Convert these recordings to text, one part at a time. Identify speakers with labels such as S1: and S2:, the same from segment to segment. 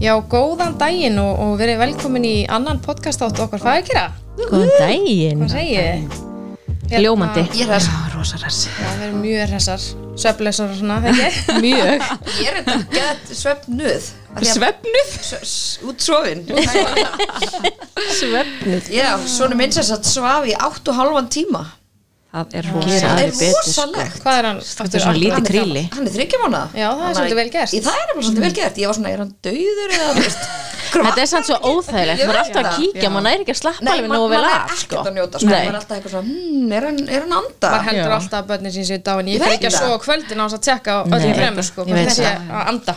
S1: Já, góðan daginn og, og verið velkomin í annan podcast átt okkar fagakera.
S2: Góðan daginn
S1: Hvað segið þið? Hérna-
S2: Ljómandi
S3: Ég er þess,
S2: Rosa ræs
S1: Já, við erum mjög hressar, svefleysar og svona, ekki? mjög.
S3: ég er þetta gett svefnuð
S2: Svefnuð
S3: Útsofin
S2: Svefnuð
S3: Já, svona minn sem satt svaf í 8 og halvan tíma
S2: Það er
S3: Það
S2: rosa
S3: er rosalegt
S1: Hvað er hann?
S2: Þetta er svona lítið kríli
S3: Hann er þryggja mánuða
S1: Já, það er svolítið vel gert.
S3: Í, Það er nefnilega svolítið vel gert Ég var svona, er hann dauður eða þú veist
S2: Þetta er samt svo óþægilegt
S3: Ég
S2: Maður er
S3: veit
S2: alltaf að
S3: það,
S2: kíkja, maður næri ekki að slappa alveg nógu vel
S3: man er
S2: af
S3: ekkert
S2: sko.
S3: að njóta sko.
S2: Nei.
S3: Man er alltaf eitthvað svona, hmm, er hann, er hann anda?
S1: Maður heldur
S2: Já.
S1: alltaf að börnin sín séu dáin. Ég
S3: Ég
S1: fer
S3: veit
S1: ekki að
S3: það.
S1: sofa á kvöldin á þess að tjekka á
S2: Nei,
S1: öllum
S2: ég
S1: fremur,
S2: veit
S1: sko.
S2: það. Ég
S1: Maður
S2: veit
S1: þessi
S2: það.
S1: að anda.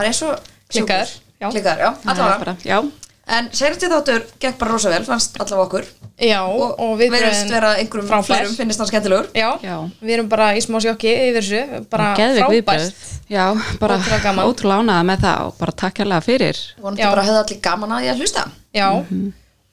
S3: Maður er svo
S1: Klikkaður, já.
S3: sjúkur. Klikkaður, já, allavega
S2: bara, já
S3: En segjandi þáttur gekk bara rosa vel, fannst allavega okkur
S1: Já, og, og við
S3: verðist vera einhverjum
S1: frábær.
S3: fleirum finnist hann skemmtilegur
S1: Já,
S4: Já.
S1: við erum bara í smá sjokki yfir þessu, bara
S2: Geðveik
S1: frábært.
S2: viðbröð
S4: Já, bara
S1: Ótrúlega gaman.
S4: ótrúlega ánæða með það og bara takk hérlega fyrir.
S3: vonandi
S1: Já.
S3: bara hefði allir gaman að því að hlusta
S1: Já,
S3: Mhm.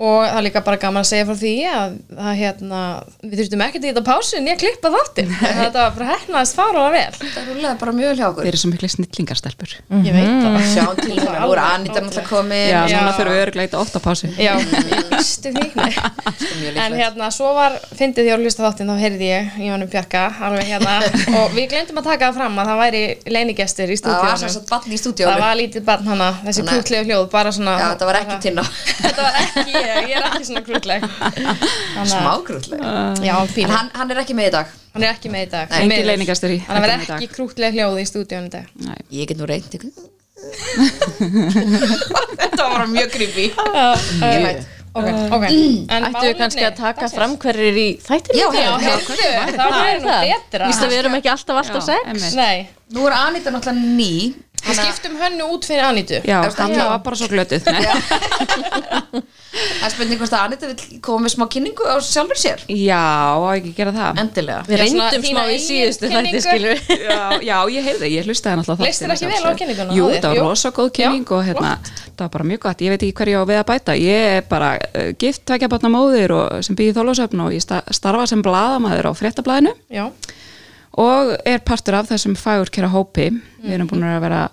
S1: og það er líka bara gaman að segja frá því að, að hérna, við þurftum ekkert í þetta pásin, ég klippa þáttinn. Þetta var bara hefnaðist faraða vel.
S3: það er rúlega bara mjög vel hjá
S4: Þeir
S3: okkur
S4: eru svo miklu snillingarstelpur.
S3: Mhm.
S1: Ég veit það.
S3: sjáum til hún, nú er Anita náttúrulega komin
S4: Já,
S1: Mm. Já.
S4: núna þurfum við örglega eitthvað ótt á pásu.
S1: Já, ég býstu því. Nei.
S3: Sko, mjög
S1: En
S3: líklegt.
S1: hérna, svo var, fyndið því að hlusta á þáttinn, þá heyrði ég í honum Bjarka, alveg hérna, og við glemdum að taka það fram að það væri leinigestir í
S3: það var sem
S1: stúdíónu.
S3: sagt bann í
S1: Það
S3: stúdíónu
S1: var lítið barn hana, þessi
S3: Þannig að-
S1: krútlegu hljóð, bara svona...
S3: já, það var ekki tinna
S1: Þetta var ekki ég, ég er ekki svona krútleg.
S3: smágrútlega
S1: Já,
S3: en
S1: pínu.
S3: hann, hann er ekki með í dag
S1: Hann er ekki með í dag
S3: Nei,
S1: Því
S4: engin
S1: miður.
S4: leiningastur í-
S1: Þannig að
S4: ekki
S1: vera
S4: með í
S1: ekki krútlega hljóði í stúdíónu í dag
S4: Nei.
S3: ég get nú reynd ykkur þetta var bara mjög creepy
S1: Ég veit Ok, Mm. ok En
S2: Ættu við
S1: málefni
S2: kannski að taka
S1: dagsins?
S2: fram hverjir eru í þættir
S3: Já,
S1: Já, heyrðu, það væri nú betra
S2: Víst að við erum ekki alltaf alltaf
S4: Já,
S2: sex
S4: einmitt.
S1: Nei,
S3: nú er Anita náttúrulega ný
S1: við
S3: Þannig að-
S1: skiptum hönnu út fyrir Anítu
S4: Já,
S3: Er það-
S4: hann
S3: Já.
S4: var bara svo glötuð. Nei.
S3: það er spurning hvort að Anita vil koma með smá kynningu á sjálfur sér
S4: Já, á ekki að gera það.
S3: endilega
S2: Við
S1: Já, svona
S2: reyndum
S1: þína
S2: smá í
S1: eigin
S2: síðustu
S1: kynningu.
S2: þætti skilur við.
S4: Já, já, ég heyrði, ég hlustaði náttúrulega
S1: Leist þér
S4: þáttinn,
S1: ekki
S4: að
S1: vel á
S4: sjálfsögðu.
S1: kynninguna
S4: Jú,
S1: á þér?
S4: það var
S1: Jú.
S4: rosa góð kynning og hérna, það var bara mjög gott, ég veit ekki hverju á við að bæta Ég er bara uh, gift tvekja barna móðir og sem býði þólasöfn og ég sta- starfa sem blaðamæður á fréttablaðinu
S1: Já
S4: og er partur af þessum fagurkera hópi Við erum búin að vera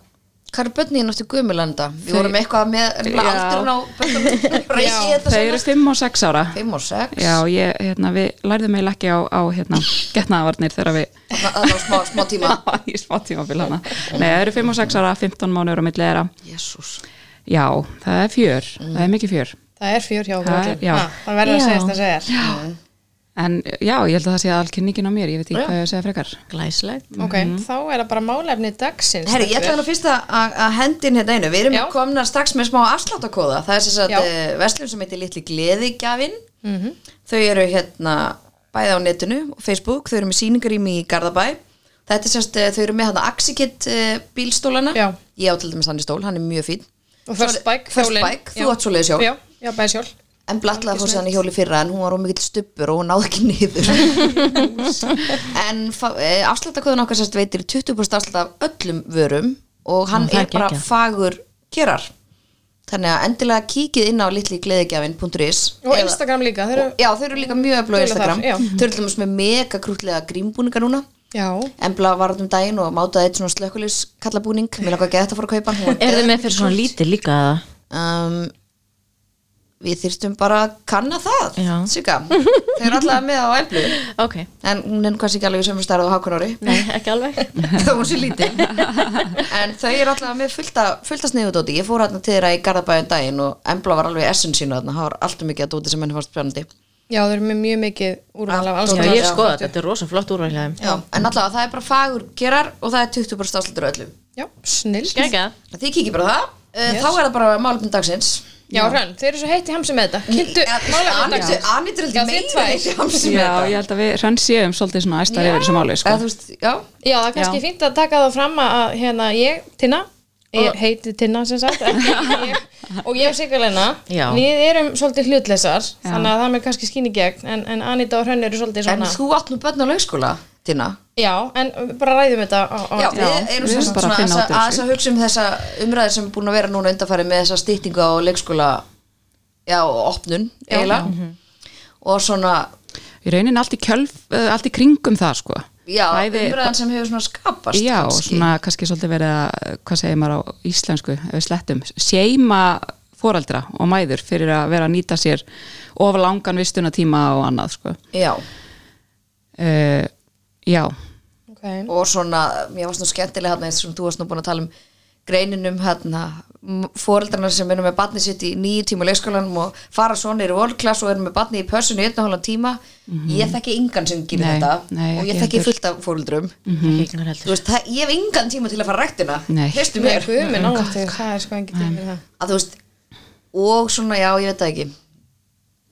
S3: Hvað eru börnin náttúrulega gömulanda? Við
S4: Þau-
S3: vorum eitthvað með
S4: Já.
S3: aldrun á börnum Rækki þetta
S4: Þau
S3: sem
S4: eru 5 og 6 ára
S3: 5 og 6
S4: Já, ég, hérna, við lærðum eiginlega ekki á, á hérna, getnaðavarnir þegar við
S3: Það var smá, smá tíma
S4: í smá tímabil hana Nei, það eru 5 og 6 ára, 15 mánuður á milli þeirra
S3: Jésús
S4: Já, það er fjör,
S3: Mm.
S4: það er mikið fjör
S1: Það er fjör hjá okkur
S4: Það-
S1: öllum.
S4: já.
S1: Ha, Það verður að
S2: Já.
S1: segja þetta að segja
S4: En já, ég held að það sé all kynningin á mér, ég veit ekki hvað ég á að segja frekar
S2: Glæslegt
S1: Ok, þá er það bara málefni dagsins
S3: Herri, ég ætla hann að fyrst að- að að hendi inn hérna einu Við erum
S1: Já.
S3: komnar strax með smá afsláttakóða Það er sem
S1: Já. Mhm.
S3: sagt verslum sem heitir Littli Gleðigjafin Þau eru hérna bæði á netinu og Facebook Þau eru með sýningarými í Garðabæ Þetta er sem sagt, eh, þau eru með hérna Axikit bílstólana
S1: Já.
S3: Ég á til dæmis hann í stól, hann er mjög fín
S1: Og first bike,
S3: First
S1: hjólin.
S3: bike,
S1: Já.
S3: þú átt svo leiðisjól
S1: Já, já, bæði sjól
S3: En blatlaði fór sér hann í hjóli fyrra en hún var ómikill stuppur og hún náði ekki niður. en afsláttakóðun okkar sérst veitir 20% afslátt af öllum vörum og hann
S2: Nú, það
S3: er
S2: er
S3: bara
S2: geggjað.
S3: fagur kerar. Þannig að endilega kíkið inn á litligleðigjafin.is
S1: Og Instagram líka, þeir eru
S3: Já, þau eru líka mjög öflug
S1: Duglega
S3: Instagram.
S1: þar, já.
S3: þau eru til dæmis með mega krútlega grímbúningar núna.
S1: Já
S3: Embla var þarna um daginn og mátaði eitt svona slökkulis kallabúning. Mér lakka ekki að þetta fara að kaupa. hann. Hún var
S2: Er þið með fyrir svona lítið líka það?
S3: um, við þyrstum bara að kanna það
S2: Já.
S3: Sigga, þau eru alltaf með á emblu
S2: Ok,
S3: en hún er kannski ekki alveg sem stærð á Hákonóri
S2: nei, ekki alveg
S3: þá hún sé lítið en þau eru alltaf með fullta, fullta sniðudóti ég fór hérna til þeirra í Garðabæðin daginn og embla var alveg essun sínu þarna það var alltaf mikið að dóti sem henni fannst spjönandi
S1: Já, þeir eru með mjög mikið úrval af alls
S2: Já,
S3: Já,
S1: konar.
S2: ég hef skoðað, þetta er rosa flott úrvæðilegum
S3: Já, en alltaf það er bara fagur gerar og það er 20% afslutur á öllum
S1: Já, snill
S2: Gæga
S3: þið kikið bara á það, uh, þá er það bara málefnum dagsins Eh,
S1: Já, Hrönn, þeir eru svo heitt í hamsi með þetta Kynntu málefni dagsins
S3: Anýttur
S1: Já,
S3: heldur
S1: þið
S3: meira
S1: tvær.
S3: þessi hamsi með
S4: Já,
S3: það
S4: ég held að við hrönnsjöfum svolítið svona æstar yfir þessu máli, sko.
S3: Eða þú veist, já
S1: Já, það er kannski
S4: Já.
S1: fínt að taka það fram að hérna ég, Tinna, ég heiti Tinna sem sagt, ekki ég, og ég og Sigurleina,
S2: Já.
S1: við erum svolítið hlutleysar, þannig að það með kannski skýni gegn, en, en Anita og Hrönn eru svolítið
S3: En
S1: svona,
S3: þú átt nú börn á laugskóla, Tina?
S1: já, en við bara ræðum þetta á, á,
S3: Já, við erum
S4: við
S3: sem
S4: erum
S3: sagt
S4: bara að
S3: svona
S4: finna
S3: aðeins
S4: út úr
S3: að aðeins að hugsa um þessa umræðir sem er búin að vera núna undarfæri með þessa stýttingu á leikskóla já, og opnun,
S4: Mhm.
S3: eiginlega og svona,
S4: Í rauninni allt í kjölf, eh, allt í kringum það, sko.
S3: já,
S4: Bæði-
S3: umræðan sem hefur svona skapast
S4: Já,
S3: kannski.
S4: svona kannski svolítið verið að, hvað segir maður á íslensku, ef við slettum, seima foreldra og mæður fyrir að vera að nýta sér of langan vistunatíma og annað, sko.
S3: já,
S4: Uh, já,
S1: okay.
S3: og svona, mér varst nú skemmtilega hérna eins og þú varst nú búin að tala um greininum hérna, foreldrarna sem erum með batni sitt í nýju tíma leikskólanum og fara svona í volklass og erum með batni í pössun í einn og hálfan tíma ég þekki engan sem gerir
S4: Mhm. Nei,
S3: þetta
S4: nei,
S3: og ég
S4: ekki
S3: þekki
S4: heldur.
S3: fullt af foreldrum
S2: Ekki einhvern heldur.
S3: þú veist, það, ég hef engan tíma til að fara ræktina
S4: Nei.
S3: hreistu
S1: Nei,
S3: mér
S1: guð minn álættur, það er sko engin tíma fyrir það.
S3: að þú veist og svona já, ég veit það ekki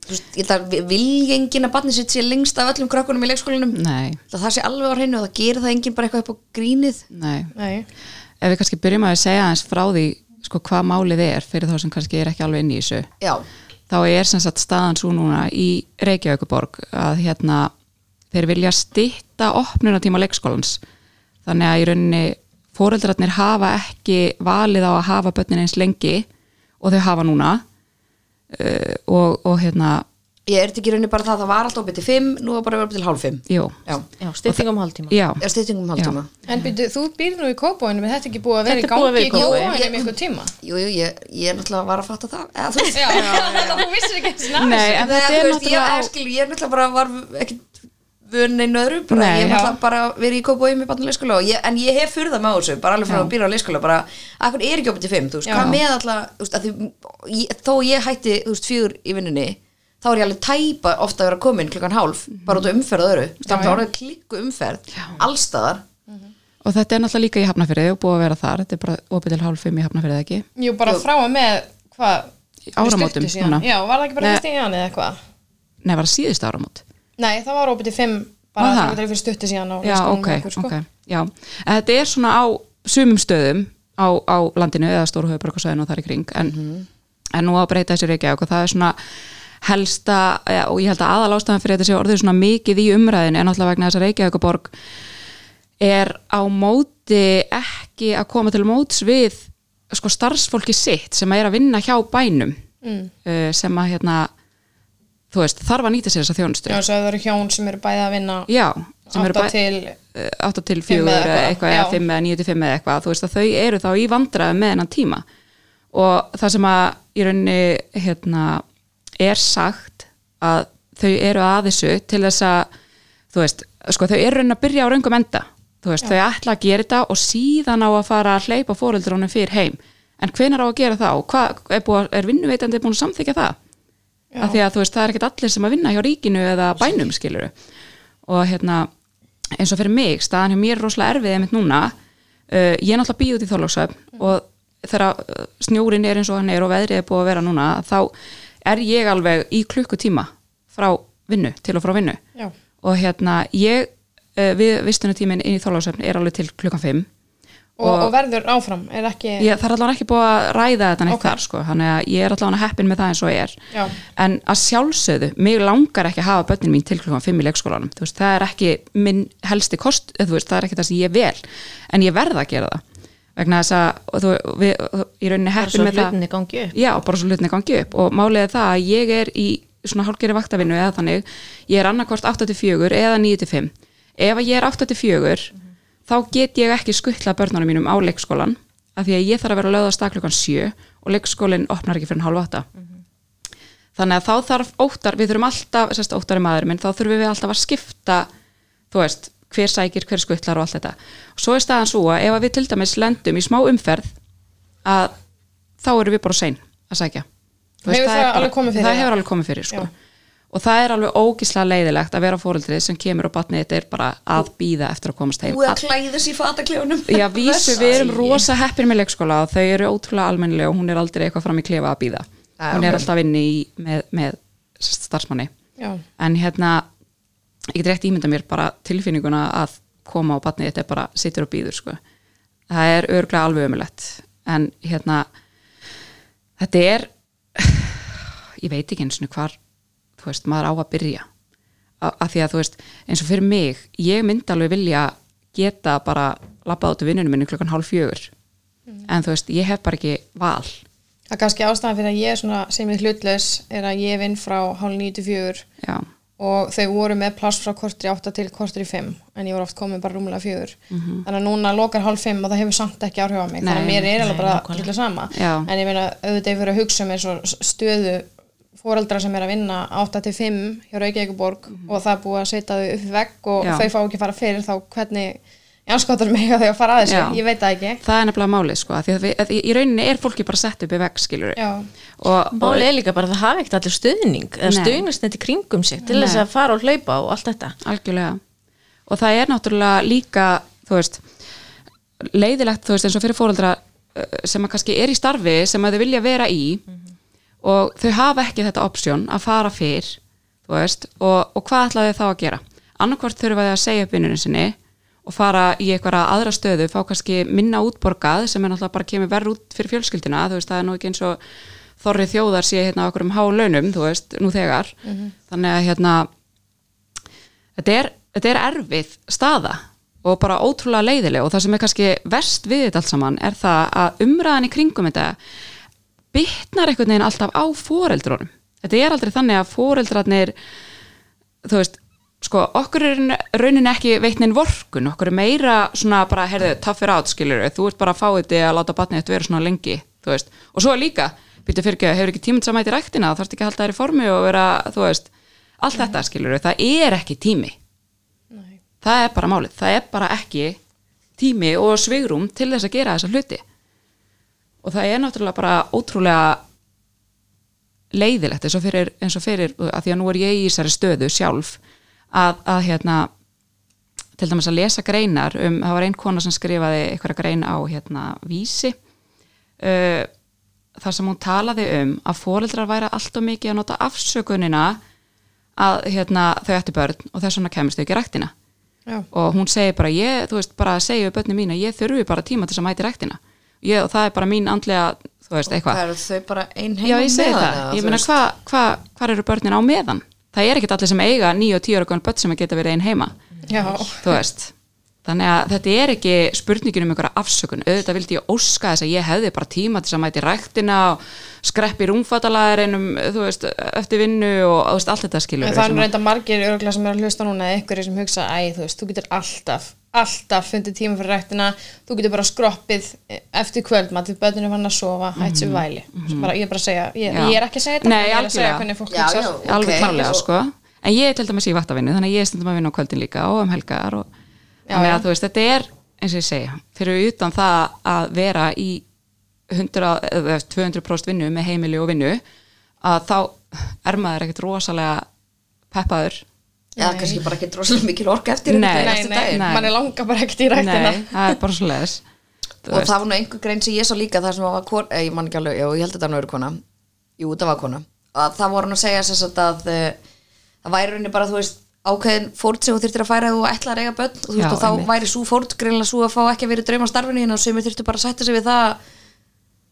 S3: þú veist, ég held að vi- vilji enginn að barnið sitt sé lengst af öllum krökkunum í leikskólanum
S4: nei,
S3: Ég held að það sé alveg á hreinu og það gerir það enginn bara eitthvað upp á grínið
S4: nei.
S1: Nei,
S4: Ef við kannski byrjum að segja aðeins frá því, sko, hvað málið er fyrir þá sem kannski er ekki alveg inn í þessu.
S3: já,
S4: þá er sem sagt staðan svo núna í Reykjavíkuborg að hérna þeir vilja stitta opnunatíma leikskólans þannig að í rauninni fóreldrarnir hafa ekki valið á að hafa börnin eins lengi og þau hafa núna uh, og, og hérna
S3: ég er þetta ekki í rauninni bara það að það var alltaf opið til 5, nú var bara opið til hálf 5
S4: jú,
S3: já,
S2: Já, stytting um hálftíma.
S4: já,
S3: er styttingum hálftíma
S1: en byrju, þú býrð nú í kópóinu en þetta er ekki búið að vera í
S2: Þetta er
S1: gangi
S2: búið að vera
S1: í
S2: í
S1: kópóinu
S3: Kópavogi.
S1: um einhver tíma
S3: jú, jú, ég, ég er náttúrulega var að fatta það eða þú veist
S1: Já, þannig að þú vissir ekki eins og nafn
S4: nei, en
S3: Nei,
S4: þetta
S3: þú veist,
S4: er
S3: ég,
S4: náttúrulega
S3: ég,
S4: á-
S3: skil, ég er náttúrulega bara var ekkit vun einu öðru bara,
S4: Nei,
S3: ég er
S4: já.
S3: náttúrulega bara verið í kópói með barn í leikskóla og ég, en ég hef furðað með þessu bara alveg frá að býra á leikskóla bara, akkur er ekki opið til fimm, þú veist,
S1: Já.
S3: hvað með alltaf þú veist, að því, ég, þó ég hætti þú veist, fjör í vinnunni, þá er ég alveg tæpa ofta að vera komin klukkan hálf bara út á umferð og öðru, þú veist, það er orðið klikku umferð allstaðar,
S4: og þetta er náttúrulega líka í hafnafyrði og búið að vera þar þetta er bara opið til hálf fimm í hafnafyrði ekki
S1: Jú, bara frá að með hvað fyrir
S4: Áramótum,
S1: stuttu síðan.
S4: núna.
S1: Já, var það ekki bara
S4: Nei.
S1: fyrst í hann eða eitthvað
S4: nei, var það síðust áramót
S1: Nei, það var opið til fimm
S4: Var
S1: bara
S4: það?
S1: það var fyrir stuttu síðan á
S4: já,
S1: leikskólanum
S4: ok,
S1: hjá okkur, sko.
S4: ok já. En þetta er svona á sumum stöðum á, á landinu eða stórhauðbörgarsvæðinu og þar í kring en,
S1: Mhm.
S4: en nú á að breyta þessi reykja og það er svona helsta ja, og ég held að aðalástaðan fyrir þetta sé orðið svona mikið í umræðinu en alltaf vegna þess að Reykjavíkuborg er á móti ekki að koma til móts við sko starfsfólki sitt sem er að vinna hjá bænum mm. sem að hérna þú veist, þarf að nýta sér þessa þjónustu
S1: Já, svo það eru hjón sem eru bæði að vinna
S4: Já, sem eru
S1: átta
S4: bæ-
S1: til-
S4: eh, átta til
S1: Fimm
S4: fjögur
S1: eða eitthvað,
S4: eða eitthvað, eða
S1: já.
S4: fimm eða níu til fimm eða eitthvað, þú veist að þau eru þá í vandræðum með hennan tíma og það sem að í rauninni hérna, er sagt að þau eru að þessu til þess að þú veist, sko þau eru raunin að byrja á raungum enda, þú veist, þau ætla að gera þetta og síðan á að fara að hleypa fóreldrónum fyrir heim, en hvenar á að gera það og hvað, er, búið að- er vinnuveitandi búin að samþykja það? Af því að þú veist, það er ekkert allir sem að vinna hjá ríkinu eða bænum, skiluru og hérna, eins og fyrir mig staðan hjá mér er rosalega erfið einmitt núna uh, ég er náttúrulega býð út í þorlóksöfn og þegar uh, snjórin er eins og hann er og veðrið er búið að vera núna þá er ég alveg í klukkutíma frá vinnu, til og frá vinnu
S1: Já.
S4: og hérna, ég uh, við vistunatíminn inn í þorlóksöfn er alveg til klukkan 5
S1: og, og verður áfram, er ekki
S4: ég, það er allavega ekki búið að ræða þetta neitt
S1: Ok.
S4: þar sko, þannig að ég er allavega heppin með það eins og ég er
S1: Já.
S4: en að sjálfsögðu, mig langar ekki að hafa börnin mín til klukkan 5 í leikskólanum þú veist, það er ekki minn helsti kost eða þú veist, það er ekki það sem ég vel en ég verð að gera það vegna þess að og þú, við, ég rauninni
S2: Bara
S4: heppin
S2: svo
S4: með það
S2: hlutinni gangi upp.
S4: já, bara svo hlutinni gangi upp og málið er það að ég er í svona hálfgeri vaktavinnu eða þannig ég er annarkvort 8-4 eða 9-5 ef að ég er 8-4 þá get ég ekki skuttla börnunum mínum á leikskólan af því að ég þarf að vera lögðast að klukkan 7 og leikskólinn opnar ekki fyrir hálf 8 þannig að þá þarf óttar við þurfum alltaf, sérst óttar er maður minn þá þurfum við alltaf að skipta þú veist, hver sækir, hver skuttlar og allt þetta og svo er staðan svo að ef að við til dæmis lendum í smá umferð að þá eru við bara sein að sækja Þú
S1: Hefur það
S4: er bara-
S1: alveg komið fyrir
S4: það
S1: það?
S4: hefur alveg komið fyrir sko. og það er alveg ógislega leiðilegt að vera fóreldrið sem kemur og batnið þetta er bara að býða eftir að komast heim
S3: þú er að klæða sér í fatakljónum
S4: Já, vísu, við erum rosa heppir með leikskóla og þau eru ótrúlega almennilega og hún er aldrei eitthvað fram í klefa að býða.
S3: Ah,
S4: Hún er alltaf inni í, með, með starfsmanni.
S1: Já.
S4: En hérna, ég get rétt ímynda mér bara tilfinninguna að koma á batnið þetta er bara sittur og býður, sko. Það er örglega alveg ömulegt. En hérna, þetta er, ég veit ekki eins og hvar, þú veist, maður á að byrja. A- Af því að þú veist, eins og fyrir mig, ég myndi alveg vilja geta bara labbað út af vinnunum minni klukkan hálf fjögur. En þú veist, ég hef bara ekki val.
S1: það er kannski ástæðan fyrir að ég er svona sem ég hlutlaus er að ég vinn frá hálf 94
S4: Já,
S1: og þau voru með pláss frá kortur í 8 til kortur í 5 en ég var oft komin bara rúmlega 4 þannig að núna lokar hálf 5 og það hefur samt ekki áhrif á mig
S4: Mhm. Nei,
S1: þannig að mér er alveg
S2: nei,
S1: bara
S2: nákvæmlega.
S1: hluta sama
S4: Já.
S1: en ég meina auðvitað ég fyrir að hugsa um mér svo stöðu fóreldra sem er að vinna 8 til 5 hjá Reykjavíkuborg og það er búið að setja þau upp í vegg og
S4: Mhm. Já.
S1: þau fá ekki að fara fyrir þá hvernig ég anskotar mig að þau að fara að þessu
S4: Já.
S1: ég veit það ekki
S4: það er nefnilega málið sko, af því að við, að í í rauninni er fólki bara sett upp í vegg, skilur
S1: Já.
S4: og, og
S2: Málið er líka bara að það hafa ekkert allir stuðning eða
S4: Nei.
S2: stuðningsnett í kringum sig til þess að fara og hlaupa og allt þetta
S4: algjörlega og það er náttúrulega líka þú veist, leiðilegt þú veist, eins og fyrir fóreldra sem að kannski er í starfi sem að þau vilja vera í og þau hafa ekki þetta option að fara fyrr þú veist, og, og hvað ætlaði þau þá að gera annarkvort þurfa þau að segja upp vinnunum sinni og fara í einhverja aðra stöðu fá kannski minna útborgað sem er náttúrulega bara kemur verð út fyrir fjölskyldina þú veist, það er nú ekki eins og þorri þjóðar sé hérna okkur um há launum, þú veist, nú þegar þannig að hérna þetta er, þetta er erfið staða og bara ótrúlega leiðileg og það sem er kannski verst við þetta allt saman er það að umræðan í kringum þetta bytnar einhvern veginn alltaf á foreldrunum. Þetta er aldrei þannig að foreldrarnir þú veist, sko, okkur er raunin ekki veitnin vorkun, okkur er meira svona bara, heyrðu, tough it out, skilur þú ert bara að fá þetta að láta batnið þetta vera svona lengi, þú veist, og svo er líka býttu fyrir ekki, hefur ekki tíminn samætt í ræktina þarfst ekki að halda þær í formi og vera, þú veist allt þetta, skilur það er ekki tími
S1: Nei.
S4: það er bara málið, það er bara ekki tími og svigrum til þess að gera þessa hluti og það er náttúrulega bara ótrúlega leiðilegt eins og fyrir, eins og fyrir að því að nú er ég í þessari stöðu sjálf að, að hérna til dæmis að lesa greinar um, það var ein kona sem skrifaði einhverja grein á hérna vísi uh, þar sem hún talaði um að fóreldrar væri alltof mikið að nota afsökunina að hérna, þau ættu börn og þess vegna kemist þau ekki í ræktina
S1: Já.
S4: og hún segir bara, ég, þú veist, bara segja við börnum mín að ég þurfi bara tíma til þess að mæti ræktina ég, og það er bara mín andlega, þú veist, eitthvað
S3: Það eru þau bara ein heima
S4: Já, ég segi
S3: með
S4: það.
S3: hana,
S4: Ég
S3: þú
S4: meina,
S3: veist.
S4: hvað hva, hva eru börnin á meðan? Það er ekkert allir sem eiga 9 og 10 ára góðan börn sem að geta verið einn heima.
S1: Já.
S4: Þú veist. Þannig að þetta er ekki spurningin um einhverja afsökun. Auðvitað vildi ég óska þess að ég hefði bara tíma til þess að mæti ræktina og skreppi rúmfattalæðurinn um, þú veist, eftir vinnu og þú veist, allt þetta skilur.
S1: En það er reynda margir öruglega sem er að hlusta núna eða ykkur sem hugsa, æ, þú veist, þú getur alltaf alltaf fundið tíma fyrir rættina þú getur bara skroppið eh, eftir kvöldmatt því börninu fann að sofa, hætt sér væli bara, ég er bara að segja, ég,
S4: Mhm, Já.
S1: ég er ekki að segja þetta
S4: Nei,
S1: en ég er að segja
S4: algjörlega.
S1: hvernig fólk
S3: Já,
S1: hugsar.
S3: já.
S4: alveg
S3: Ok,
S4: okay, klárlega
S3: og-
S4: sko en ég er til dæmis í vaktavinnu þannig að ég er stundum að vinna á kvöldin líka og um helgar og þannig að þú veist þetta er eins og ég segja, fyrir utan það að vera í 100, eða 200% vinnu með heimili og vinnu að þá er maður ekkert rosalega peppaður
S3: Já, kannski bara ekki droslega mikil ork eftir
S4: Nei.
S3: þetta
S1: Nei,
S3: eftir
S1: nei,
S3: daginn.
S4: Nei.
S1: mann er langa bara ekkert í rættina
S4: nei, það er bara svo leiðis
S3: og það var nú einhver grein sem ég sá líka það sem var kona, eh, ég man ekki alveg, já, ég held að þetta nú eru kona jú, það var kona að það voru hann að segja sér satt að eh, það væri henni bara, þú veist, ákveðin fórn sem þú þyrftir að færa ef þú ætla að reyga börn og, þú
S4: Já,
S3: veist, og þá
S4: einmitt.
S3: væri svo fórn greinlega svo að fá ekki að vera í draumastarfinu hérna og sumir þyrftu bara að sætta sig við það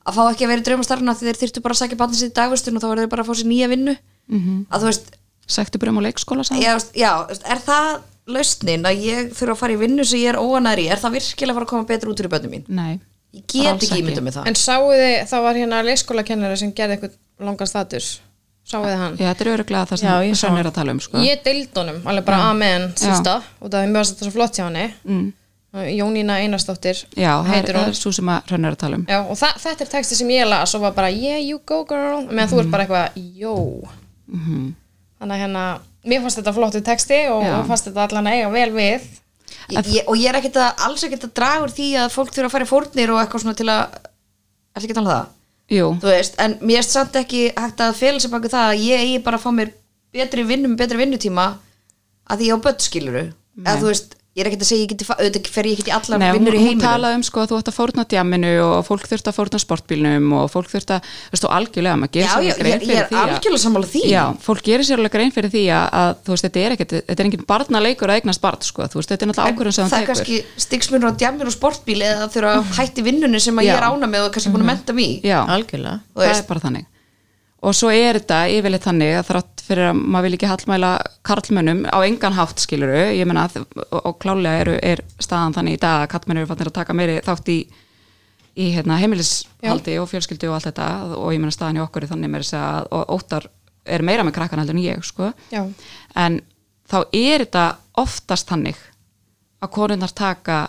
S3: að fá ekki að vera í draumastarfinu af því þeir þyrftu bara að sækja barnið sér í dagvistun og þá verður þeir bara að fá sér nýja vinnu -hmm.
S4: Mhm.
S3: að þú veist,
S4: sæktu brum á leikskóla saman
S3: já, þú veist, já, þú veist, er það lausnin að ég þurfa að fara í vinnu sem ég er óanæri er það virkilega að fara að koma betur út úr í börnum mín
S4: nei,
S3: ég
S4: Bara
S3: get
S4: alls
S3: ekki
S4: ekki.
S3: ímynda með það
S1: en sáu þið, það var hérna leikskólakennari sem gerði eitthvað langan status sáu þið hann?
S4: já, þetta er öruglega það
S2: Já, ég
S4: sem
S2: sá
S4: Svenn er að tala um sko.
S1: Ég deildi honum, alveg bara amen sísta, og það er mjög að þetta svo flott hjá henni mm. Jónína Einarsdóttir
S4: já, það er,
S1: heitir
S4: það
S1: hún
S4: er svo sem að Svenn er að tala um
S1: Já, og þa þetta er texti sem ég las og var bara, yeah, you go girl meðan þú ert bara eitthvað, yo þannig að hérna, mér fannst þetta flottu texti og
S4: Já.
S1: mér fannst þetta allan að eiga vel við
S3: ég, ég, og ég er ekkit að, alls ekkit að draga úr því að fólk þurfa að fara í fórnir og eitthvað svona til að ætla ekki að tala um það,
S4: jú,
S3: þú veist en mér er samt ekki hægt að fela sér baku það að ég eigi bara að fá mér betri vinnu með betri vinnutíma að því ég á börn skiluru eða þú veist, ég er ekkit að segja ég geti, fa- auðvitað fer ég ekkit í allar
S4: Nei, hún,
S3: vinnur í
S4: hún
S3: heiminum
S4: talaði um sko að þú ætti að fórna djamminu og fólk þurfti að fórna sportbílnum og fólk þurfti að, veistu, algjörlega maður gerir
S3: Já,
S4: sér
S3: já,
S4: alveg grein
S3: ég- ég
S4: fyrir
S3: er
S4: því að-
S3: algjörlega sammála því.
S4: Já, fólk gerir sér alveg grein fyrir því að, að þú veist, þetta er ekkert, þetta er engin barnaleikur að eignast barn, sko, þú veist, þetta er náttúrulega ákvörðun sem hún
S3: það er
S4: tekur
S3: kannski stigsmunur á djamur og sportbíl eða þurfa að hætti vinnunni sem að ég er
S4: Já. Mhm.
S3: ána með og kannski búin að menta mig í.
S4: Já,
S2: algjörlega
S3: Þú
S4: það
S3: veist.
S4: er bara þannig og svo er þetta yfirleitt þannig að þrátt fyrir að maður vil ekki hallmæla karlmönnum á engan hátt skiluru ég meina að, og, og klálega eru, er staðan þannig í dag að karlmönnur eru fannir að taka meiri þátt í, í hérna, heimilishaldi og fjölskyldu og allt þetta og ég meina staðan í okkur er þannig meira að segja að- og óttar er meira með krakkan heldur en ég sko.
S1: Já.
S4: en þá er þetta oftast hannig að konunnar taka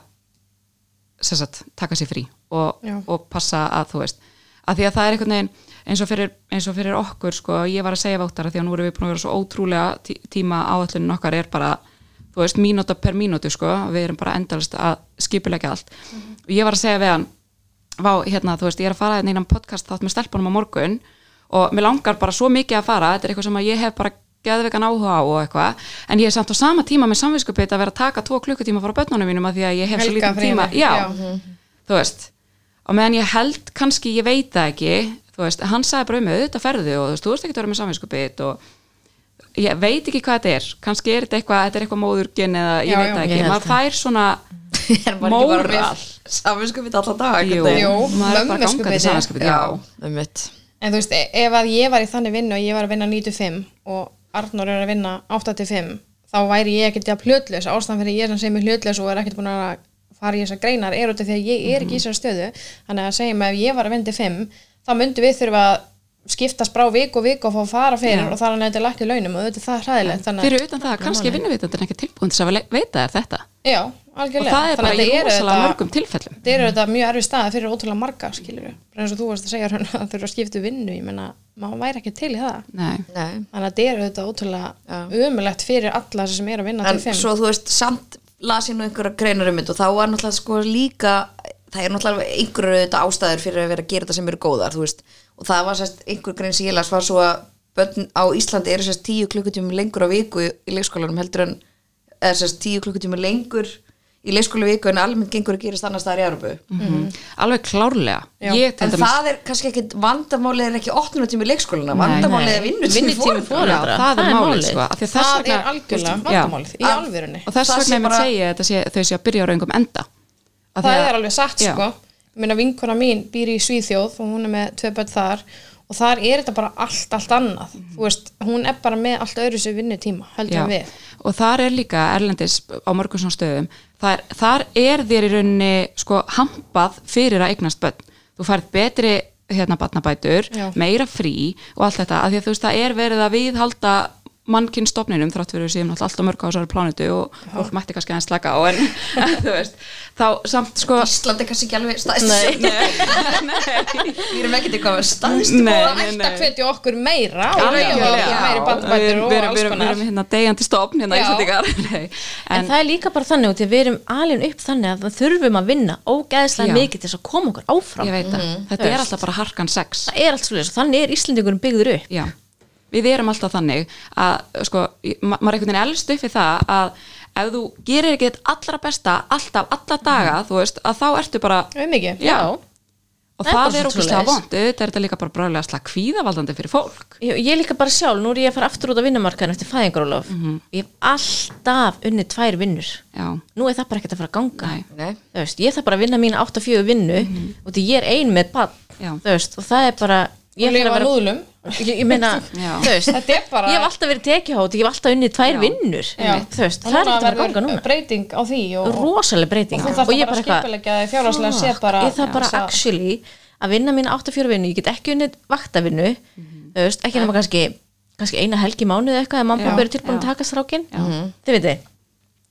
S4: sem sagt, taka sér frí og,
S1: Já.
S4: og passa að þú veist að því að það er einhvern veginn eins og fyrir, eins og fyrir okkur sko, ég var að segja váttara því að nú erum við búin að vera svo ótrúlega tí tíma áallunin okkar er bara þú veist, mínúta per mínútu sko við erum bara endalist að skipulegja allt og ég var að segja við hann vá, hérna, þú veist, ég er að fara hérna einan podcast þátt með stelpunum á morgun og mér langar bara svo mikið að fara, þetta er eitthvað sem að ég hef bara geðveikan áhuga á og eitthvað en ég er samt á sama tíma með samvinskupið að vera að taka tvo klukkutíma frá börnunum mínum að því að ég hef svo
S1: Helga
S4: lítið tíma
S1: fríinu,
S4: já,
S1: já.
S4: þú veist og meðan ég held kannski, ég veit það ekki þú veist, hann sagði bara um auðvitað ferðu og þú veist, þú veist ekki að vera með samvinskupið og ég veit ekki hvað þetta er kannski er þetta eitthvað, þetta er eitthvað móðurgin eða ég
S1: Já,
S4: veit
S1: já.
S4: það
S2: Ég
S4: ekki,
S2: held
S4: maður fær svona
S3: er maður ekki bara
S4: Móral.
S3: með saminskupið alltaf dag
S4: jú,
S1: Jú,
S4: maður er bara
S1: mömmuskupið.
S4: gangandi saminskupið, já
S3: já, um mitt
S1: En þú veist, e- ef að ég var í þannig vinnu og ég var að vinna 9-5 og Arnór er að vinna 8-5 þá væri ég ekkert jafn hlutlaus ástæðan fyrir ég sem segir mig hlutlaus og er ekkert búin að fara í þessar greinar er út af því að ég er ekki í þessari stöðu þannig að segjum að ef ég var að vinna til 5 þá myndum við þurfa að skiptast brá viku og viku og fá að fara fyrir og þar að nefndi lækki launum og þetta er það hræðilegt þannig
S4: fyrir utan það að kannski vinnuveitandinn ekki tilbúin til þess að le- veita þér þetta
S1: að já,
S4: og
S1: algjörlega
S4: það er bara
S1: Þannig
S4: í
S1: að þetta eru
S4: rosalega
S1: þetta-
S4: mörgum tilfellum
S1: þetta eru þetta mjög erfið staða fyrir ótrúlega marga skilur bara eins og þú varst að segja hann að þurfa að skipta um vinnu ég menna, maður væri ekki til í það
S4: Nei.
S3: Nei.
S1: þannig að þetta er auðvitað ótrúlega umulegt fyrir alla þess sem er að vinna
S3: en
S1: til fimm
S3: svo þú veist, samt las ég nú einhverja greinar um þetta og þá var náttúrulega sko líka það er náttúrulega einhverju þetta ástæður fyrir að vera að gera þetta sem eru góðar, þú veist og það var sérst, einhver grein sem ég las var svo að börn á Íslandi eru sérst tíu klukkutími lengur á viku í, í leikskólanum heldur en eða sérst tíu klukkutími lengur í leikskóla viku en almennt gengur að gerast annars staðar í Arbu
S4: alveg klárlega
S1: Mhm. Já.
S4: ég Mm. til
S3: en
S4: dæmis
S3: það er kannski ekkit vandamálið er ekki 8 tími leikskólana, vandamálið er vinnutími
S2: Vinnutími
S3: foreldra.
S4: Já, það er málið sko af því að þess
S1: það
S4: vegna-
S1: er algjörlega
S4: Já.
S1: vandamálið í
S3: Að-
S1: alvörunni
S4: og þess
S3: Það sé
S4: vegna ég mynd
S3: bara-
S4: segja þetta sé, þau sé að byrja á raungum enda Af því
S1: það
S4: að-
S1: er alveg satt
S4: Já.
S1: sko ég meina vinkona mín býr í Svíþjóð og hún er með tvö börn þar og þar er þetta bara allt, allt annað þú veist, hún er bara með allt öðru sér vinnutíma heldur en
S4: Já.
S1: við
S4: og þar er líka erlendis á mörgum svona stöðum þar, þar er þér í rauninni sko hampað fyrir að eignast börn þú færð betri hérna batnabætur
S1: Já.
S4: meira frí og allt þetta af því að þú veist það er verið að viðhalda mannkynstofninum þrátt fyrir sem alltaf mörg á þessari plánutu og fólk mætti kannski aðeins slaka á en þú veist þá samt sko
S3: Ísland er kannski ekki alveg staðist Nei, Við erum ekki til hvað staðist
S1: og
S4: Nei,
S1: það
S4: nei,
S1: ætti
S4: nei.
S1: að hvetja okkur meira og
S4: Algjörlega.
S1: reyða okkur
S3: Já.
S1: meiri bandbættur
S4: Við
S1: og
S4: erum- við
S1: alls
S4: erum- Við
S1: konar
S4: erum hérna deyjandi stofn hérna
S1: Já.
S4: Íslandingar Nei,
S2: En, það er líka bara þannig út í að við erum alin upp þannig að við þurfum að vinna ógeðslega
S4: Já.
S2: mikið til þess að koma okkur áfram
S4: ég veit það, þetta er alltaf bara harkan sex
S2: það er allt svolítið og þannig er Íslendingurinn byggður upp
S4: Já, við erum alltaf þannig að sko, ma maður einhvern veginn elst upp við það að ef þú gerir ekki þitt allra besta alltaf, alla daga, þú veist, að þá ertu bara
S1: um mikið
S4: Já, og
S2: Það er bara
S4: það
S2: svo
S4: er okkur slag
S2: svoleiðis.
S4: vond auðvitað er þetta líka bara brálega slag kvíðavaldandi fyrir fólk
S2: ég, ég líka bara sjálf, nú er ég að fara aftur út á vinnumarkaðin eftir fæðingarólof
S4: Mhm.
S2: ég hef alltaf unni tvær vinnur
S4: Já,
S2: nú er það bara ekkert að fara að ganga
S4: Nei.
S3: Nei.
S2: Þú veist, ég þarf bara að vinna mína 8-4 vinnu og því ég er ein með bann
S4: Já.
S2: Þú veist, og það er bara
S1: og
S2: ég ætla að
S1: lifa
S2: vera-
S1: núðlum
S2: ég, ég meina,
S4: Já.
S2: þú veist
S1: Þetta er bara-
S2: ég hef alltaf verið tekihótt, ég hef alltaf unnið tvær
S4: Já.
S2: vinnur þú veist,
S1: Og
S2: það er
S1: núna
S2: ekkert að fara að
S1: verður
S2: ganga núna
S1: breyting á því og, og
S2: rosaleg breyting
S1: Og þú þarft
S2: ég
S1: að bara skipuleggja þig fjárhagslega séð
S2: fuck,
S1: bara
S2: ég þarf bara
S1: þessa-
S2: actually að vinna mín 8-4 vinnu, ég get ekki unnið vaktavinnu,
S1: Mhm.
S2: þú veist, ekki nema kannski kannski eina helgi í mánuði eitthvað að mamma
S4: Já,
S2: pappi eru tilbúin
S4: já.
S2: að taka strákin þið veit þið,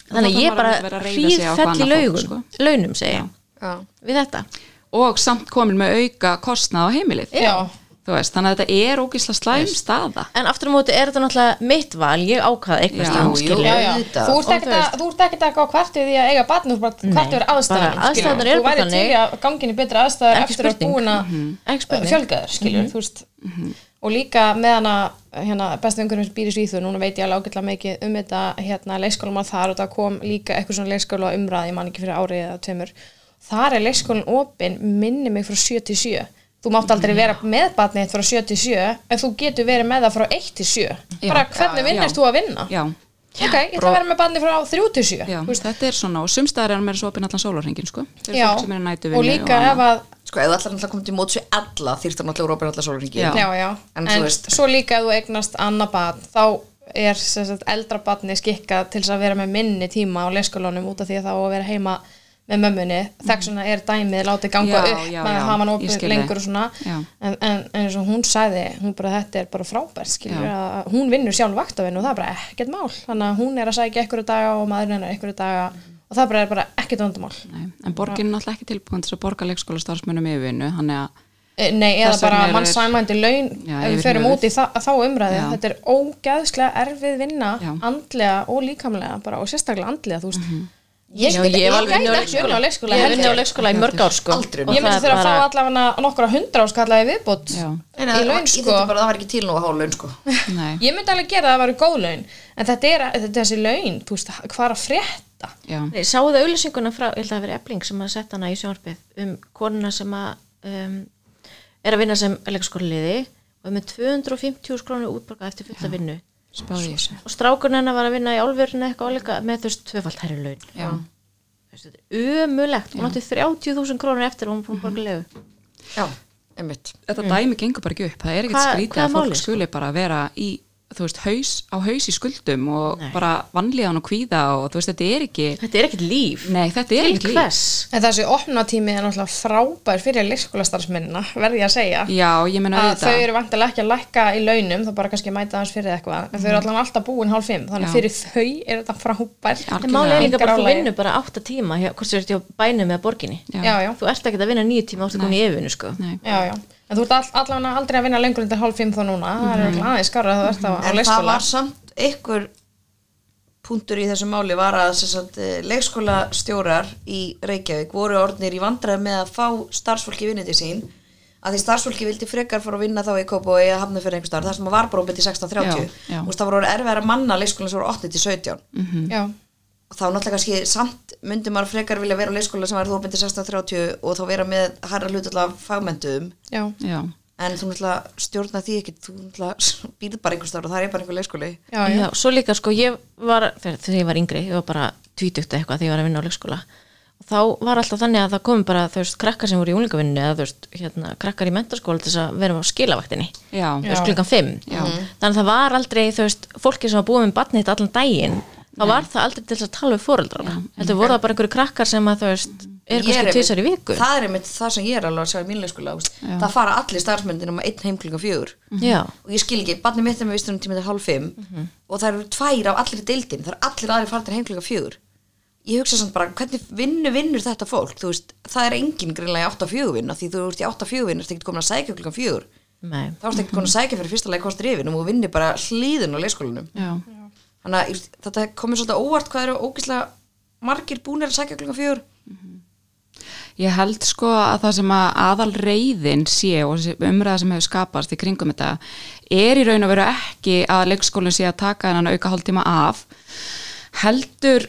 S2: þannig
S4: þarf
S2: að ég
S4: maður
S2: bara
S4: að vera að reiða sig á hvað
S2: hríðfell í
S4: annað fólk,
S2: laugum
S4: sko.
S2: launum, segja,
S3: Já.
S2: við þetta
S4: og samt komin með auka kostnað á heimilið
S1: Já.
S4: Þú veist, þannig að þetta er ógisla slæm staða
S2: en aftur á móti er þetta náttúrulega mitt val, ég ákvaða
S4: Já,
S2: eitthvað stann,
S4: jú,
S2: skilja
S3: já.
S1: já, já.
S3: Auðvitað.
S1: þú ert ekkert að- þú ert ekkert að gá hvert við því að eiga batn þú ert bara hvert við aðstæðan
S2: bara aðstæðurnar eru
S1: þú væri
S2: bara
S1: til í
S2: þannig.
S1: að gangin í betri aðstæðar
S2: Ekki
S1: eftir að
S2: spurning. Mhm.
S1: búin
S2: Ekki
S1: að
S2: spurning.
S1: fjölga þér skilur þú veist
S2: Mhm.
S1: og líka með hana hérna, bestu umhverjum býr í Svíþjóð, núna veit ég alveg ágætlega mikið um þetta hérna, leikskólum að þar og það kom líka eitthvað svona leikskóla umræði, ég man ekki fyrir árið eða tveimur, þar er leikskólin opinn minni mig frá 7 til 7 þú mátt
S2: Mhm.
S1: aldrei vera með batnið þitt frá 7 til 7 en þú getur verið með það frá 1 til 7
S4: Já.
S1: bara hvernig
S4: Já, já.
S1: vinnist þú að vinna
S4: Já,
S1: ok, ég ætla að vera með barni frá 37
S4: já, þetta er svona og sumstaðar er hann meira svo opinn allan sólarhengin sko, fyrir fólk sem er í nætuvinnu
S1: og líka
S4: annað.
S1: ef að
S3: Sko, ef allar náttúrulega komið til móts við alla þýrt hann allar Róbert allar sólringi
S4: Já.
S1: já, já.
S3: En
S1: en,
S3: þú veist-
S1: svo líka ef þú eignast annað barn þá er sem sagt, eldra barni skikka til þess að vera með minni tíma á leikskólanum út af því að það á að vera heima með mömmunni þess vegna er dæmið látið ganga
S4: Já,
S1: upp
S4: já,
S1: með
S4: já,
S1: að hafa hann
S4: ég
S1: opið
S4: skil
S1: lengur
S4: þig.
S1: og svona
S4: Já.
S1: en, en eins og hún sagði hún bara þetta er bara frábært skilur,
S4: Já.
S1: að hún vinnur sjálf vaktavinn og það er bara ekkert mál þannig að hún er að sækja einhverju daga og maðurinn hennar einhverju daga og það bara er bara ekkert vandamál
S4: Nei, en borgin er náttúrulega ekki tilbúin til þess að borga leikskóla starfsmönnum yfirvinnu, hann er að
S1: Eh, Nei, eða
S4: Þess vegna
S1: bara
S4: eru þeir-
S1: mannsæmandi laun
S4: Já,
S1: ef við
S4: yfir
S1: ferum
S4: höfuð.
S1: út í þa þá umræði
S4: Já.
S1: þetta er ógeðslega erfið vinna
S4: Já. Mhm.
S1: andlega og líkamlega bara, og sérstaklega andlega, þú veist
S3: Ég,
S2: Já,
S3: ég,
S2: ég hef alveg
S1: gæti
S2: unnið á
S1: ekki unnið á leikskóla,
S2: Ég hef
S1: heldur.
S2: unnið á leikskóla í mörg ár sko
S3: Aldrei
S2: Og
S3: unnið.
S1: Ég myndi
S2: það
S1: þeirra
S2: bara-
S1: að fá allavega nokkra hundra áskallaði viðbútt
S4: Já.
S3: Nei, nei,
S1: í laun
S3: Ég
S1: sko
S3: þetta bara, það var ekki til nú að hálun sko.
S4: nei,
S1: Ég myndi alveg gera það að það væri góð laun en þetta er, þetta er þessi laun, þú veist, hvað er að frétta
S4: já,
S2: Nei, Sáu það auðlýsinguna frá, ég held að það hafi verið ebling sem að setja hana í sjónarpið um konuna sem að um, er að vinna sem leikskóliði og er með 250 skrónu útborgað eftir fulla vinnu
S4: spáði ég þessu
S2: og strákurinn hennar var að vinna í álverinu eitthvað álíka með þú veist tvöfalt herri laun
S4: Já.
S2: Þú veist, þetta er umulegt, hún átti 30.000 krónur eftir og hún búin
S4: Mhm.
S2: borgilegu
S3: Já, einmitt
S4: Þetta
S1: Mm.
S4: dæmi gengur bara ekki upp, það er ekkert
S2: Hvað-
S4: skrítið
S2: hvað er
S4: að fólk
S2: málið, sko?
S4: skuli bara vera í, þú veist, haus, á haus í skuldum og
S2: Nei.
S4: bara vanlíðan og kvíða og þú veist, þetta er ekki,
S2: þetta er ekkert líf
S4: nei, þetta er
S2: til
S4: ekki líf.
S2: hvers
S1: En þessi opnatími er náttúrulega frábær fyrir leikskólastarfsmennina, verði ég að segja
S4: Já, ég meina
S1: að þau
S4: auðvitað.
S1: eru vantilega ekki að lækka í launum þá bara kannski mæta aðeins fyrir eitthvað en þau eru allan alltaf búin hálf fimm þannig
S4: Mm. Já.
S1: fyrir þau er þetta frábær
S4: Já.
S2: en máli er líka bara að þú
S1: Engar álagið.
S2: vinnur bara 8 tíma hjá, hvort þú ert hjá bænum eða borginni
S4: Já.
S1: já, já,
S2: þú ert ekki að vinna 9 tíma átti komin í efinu sko
S4: Nei.
S1: já, já en þú ert all, allan aldrei að vinna lengur undir hálf fimm þá núna það
S4: Mhm.
S1: er örugglega aðeins skárra að þú ert á, á
S3: En það
S1: leikskóla
S3: var samt einhver punktur í þessu máli var að sem sagt, eh, leikskólastjórar í Reykjavík voru orðnir í vandræði með að fá starfsfólki vinnið til sín að því starfsfólki vildi frekar fór að vinna þá í Kópa og eiga hafna fyrir einhver starf þar sem að var bara opið til 16.30
S4: Já, já.
S3: Þú veist, það voru erfið að manna leikskólan sem voru 8 til 17
S4: Mhm.
S1: já,
S3: og þá náttúrulega kannski samt myndi maður frekar vilja vera á leikskóla sem var þú opið til 16.30 og þá vera með hærra hlut alltaf fagmyndum
S1: já,
S4: Já,
S3: en þú náttúrulega stjórna því ekki þú náttúrulega býrð bara einhver starf og það er bara einhver leikskóli
S1: já, já,
S2: Já, svo líka sko ég var þegar þegar ég var yngri, ég var bara tvítugt eitthvað þegar ég var að vinna á leikskóla og þá var alltaf þannig að það kom bara þú veist krakkar sem voru í úlingavinnu eða þú veist hérna, krakkar í mentaskóla til þess að vera á skilavaktinni
S4: já,
S2: þú veist klukkan 5
S4: Já.
S2: þannig að það var aldrei þú veist fólki sem var búið með barnið þetta allan daginn þá var það aldrei til þess að tala við fóreldrana heldur voru það bara einhverju krakkar sem að þú veist er
S3: Ég
S2: kannski
S3: einmitt-
S2: tvisar í viku
S3: það er einmitt það sem ég er alveg að sjá í mín leikskóla þú veist. það fara allir starfsmyndin um einn heim klukkan fjögur
S2: Mhm. Já,
S3: og ég skil ekki, barnið mitt er með vistunum tíma til hálf fimm og það eru tvær af allir deildin það eru allir aðrir farnir heim klukkan fjögur ég hugsa samt bara, hvernig vinnu vinnur þetta fólk þú veist, það er engin greinlega í 8-4 vinna því þú ert í 8-4 vinna, það er ekkert komin að sækja klukkan fjögur
S2: nei
S3: þá ertu ekki komin að sækja fyrir fyrsta leik kostur yfir og vinnir bara hlýðin á leikskólanum
S4: já,
S3: þannig að ég veist, þetta komið svolítið á óvart hvað eru ógeðslega margir búnir að sækja klukkan fjögur
S4: Ég held sko að það sem að aðal reyðin sé og þessi umræða sem hefur skapast í kringum þetta er í raun og veru ekki að leikskólinn sé að taka hennan auka hálftíma af heldur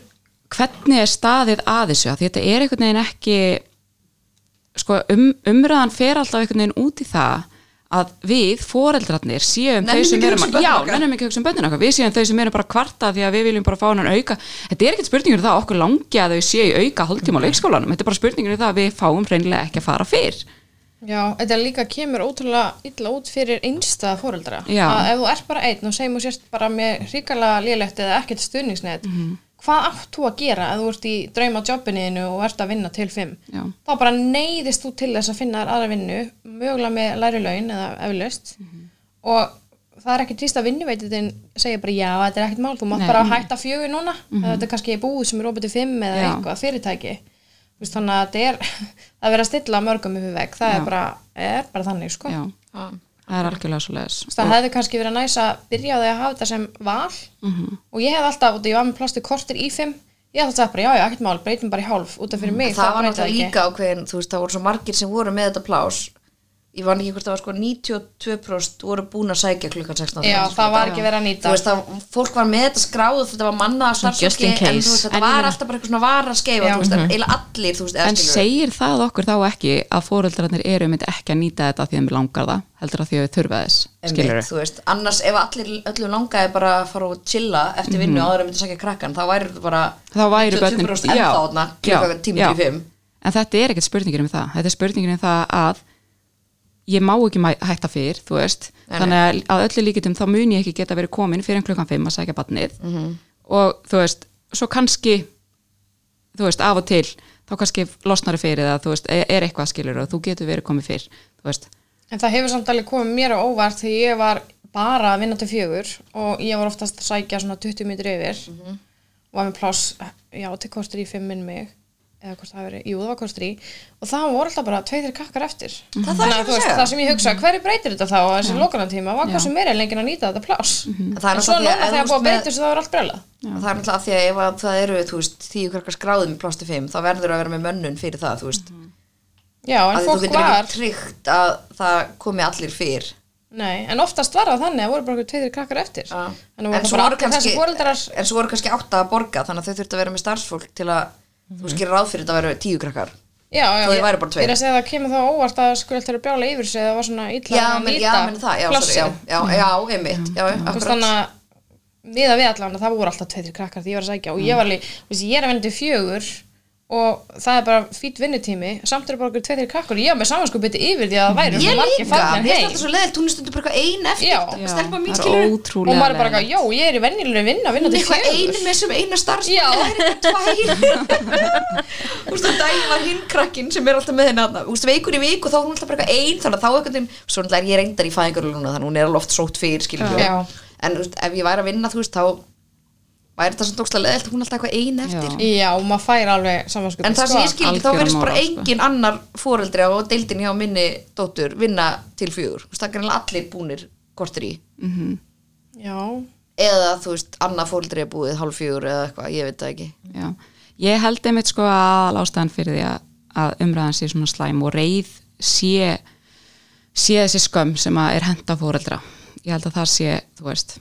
S4: hvernig er staðið að þessu Af því þetta er einhvern veginn ekki sko um, umræðan fer alltaf einhvern veginn út í það að við, foreldrarnir, séum
S3: Nennum
S4: þau sem
S3: ekki
S4: erum
S3: hugsa um börnin
S4: já,
S3: okkar.
S4: nennum ekki að hugsa um bönnina okkar, við séum þau sem erum bara að kvarta því að við viljum bara fá hennan auka þetta er ekkert spurningur það að okkur langi að þau séu í auka hálftíma á leikskólanum, þetta er bara spurningur það að við fáum reynilega ekki að fara fyrr
S1: já, þetta líka kemur ótrúlega illa út fyrir einstað fóreldra
S4: Já.
S1: að ef þú ert bara einn og segjum og sérst bara með ríkala lélegt eða ekkert stuðningsneitt
S4: Mhm.
S1: hvað átt þú að gera ef þú ert í drauma jobbinniðinu og ert að vinna til fimm
S4: Já.
S1: þá bara neyðist þú til þess að finna þér aðra vinnu, mögulega með læri laun eða eflaust
S3: Mhm.
S1: og það er ekkert víst að vinnuveititin segja bara já, þetta er ekkert mál, þú mátt bara hætta fjögur núna,
S3: Mhm.
S1: þetta er kannski búið sem er opið til fimm eða
S4: Já.
S1: eitthvað, fyrirtæki Þú veist, þannig að þetta er að vera að stilla mörgum upp í veg, það er bara, er bara þannig sko.
S4: já, það er algjörlega svo leiðis
S1: Þú veist, það hefði kannski verið næs að byrja á því að hafa þetta sem val
S3: Mhm.
S1: og ég hef alltaf, út af ég var með plástu kortir í fimm ég hef alltaf bara, já, já, ekkert mál, breytum bara í hálf út af fyrir mig,
S3: Mm. það var
S1: breytir
S3: náttúrulega
S1: ekki.
S3: líka ákveðin þú veist, það voru svo margir sem voru með þetta plás ég vann ekki hvort það var sko 92% voru búin að sækja klukkan 16
S1: Já, það var ekki verið að nýta
S3: sko, þú veist, það, fólk var með þetta skráð þetta var mannaða
S2: Just in
S3: starfsfólki en
S2: case.
S3: þú veist,
S4: En
S3: þetta
S4: ég
S3: var
S4: meina-
S3: alltaf bara eitthvað svona var að skeifa, þú veist, en eila allir þú veist, eða
S4: en
S3: skilur.
S4: segir það okkur þá ekki að foreldrarnir eru mynd ekki að nýta þetta af því að við langar það, heldur að því að við þurfa þess skilur
S3: Einmitt, þú veist, annars ef allir öllum langaði bara að fara og chilla eftir vinnu áður en myndi sækja krakkan, þá væri þetta bara
S4: þá væri börnin
S3: 22% ennþá þarna, klukkan tíma til fimm
S4: en þetta er ekkert spurningin um það þetta er spurningin um það að ég má ekki mæ- hætta fyrr, þú veist
S3: Nei, nei.
S4: þannig að að öllu líkitum þá mun ég ekki geta verið komin fyrir en klukkan 5 að sækja
S3: Mhm.
S4: batnið og þú veist, svo kannski þú veist, af og til þá kannski losnar þau fyrir það, þú veist, e- er eitthvað skilur og þú getur verið komið fyrr, þú veist
S1: En það hefur samt alveg komið mér á óvart þegar ég var bara að vinna til fjögur og ég var oftast að sækja svona 20 mínútur yfir
S3: Mhm.
S1: og var með pláss, já, til kostur í 5 minn mig eða hvort það verið, jú, það var kostur í og það voru alltaf bara tveir þeir kakkar eftir
S3: Mhm. Það þarf
S1: þannig
S3: ekki
S1: að þú
S3: að
S1: veist,
S3: segja. Mhm.
S1: það sem ég hugsa, hverju breytir þetta þá á þessi lokanantíma, var hvað sem er en lengið að nýta þetta pláss
S3: En Mhm. það er
S1: en svo núna
S3: náttúrulega því að ef
S1: þegar búið
S3: þú
S1: að
S3: ert með-
S1: breyta þessu þá er allt breyla
S3: það er náttúrulega af því að ef að það eru þú veist, tíu krakkar skráðum í plástu 5 þá verður að vera með mönnun fyrir það þú veist,
S1: Já, en
S3: að þú
S1: fólk
S3: getur
S1: var
S3: ekki tryggt að það komi allir fyrr
S1: Nei, en oftast var það þannig að voru bara tveir þeir krakkar eftir Þannig
S3: en
S1: voru
S3: svo
S1: bara
S3: voru
S1: allir
S3: kannski
S1: þessi fóreldrar
S3: en svo voru kannski átta að borga þannig að þau þurftu að vera með starfsfólk til að þú veist, gera ráð fyrir þetta að vera tíu krakkar
S1: Já, já,
S3: Þó þið
S1: ég-
S3: væru bara
S1: Ég
S3: tveir.
S1: er að segja að það kemur þá óvart að skuld til að brjála yfir sig eða það var svona illa
S3: já,
S1: að
S3: menn, já,
S1: nýta
S3: menn það, já, sorry,
S1: plássið.
S3: já, já, já, einmitt já, já,
S1: Þú veist,
S3: akkurat
S1: Þannig að við að við allan að það voru alltaf tveir krakkar því ég var að sækja og
S3: Mm.
S1: ég var alveg, þú veist, ég er að vinna til fjögur og það er bara fýtt vinnutími samt eru bara okkur tveir krakkar og ég var með samanskupið yfir því að það væri
S3: ég
S1: svo margir
S3: líka,
S1: farnir
S3: mér er
S1: heim.
S3: alltaf svo leðilt hún er stundur bara eitthvað ein
S1: Já.
S3: eftir
S1: Já,
S3: stelpa mín
S4: það er
S3: skilur
S1: og
S4: ótrúlega
S1: maður er bara, eitthvað,
S4: leiðinlegt.
S1: já, ég er í venjulegri vinnu að vinna til
S3: eitthvað einu
S1: fjögur
S3: með sem eina
S1: Já.
S3: starfsmann það er eitthvað tvær þú veist að dæmi var hinn krakkin sem er alltaf með henni þarna. þú veist veikur í vik og þá er hún alltaf bara eitthvað ein þannig að þá eitthvað þeim, svo náttúrulega er ég reyndar í fæðingar núna þannig að hún er alveg oft sótt fyrir skilur
S1: Já.
S3: en þú veist, ef ég væri að vinna þú veist þá væri þetta svona tókslega leðilt hún er alltaf eitthvað ein eftir
S4: Já.
S1: Já, maður fær alveg samanskupið
S3: en það sem ég skil ekki, þá
S4: algjöra
S3: verðist bara
S4: móral, sko.
S3: engin annar fóreldri á deildin hjá minni dóttur vinna til fjögur, þú veist það er greinilega allir búnir kortir í
S1: Já,
S3: eða þú veist, annað fóreldri er búið hálf fjögur eða eitthvað, ég veit það ekki
S4: Já, ég held einmitt sko að ástæðan fyrir því að, að umræðan sé svona slæm og reyð sé, sé þessi skömm sem að er henda fóreldra. Ég held að það sé, þú veist,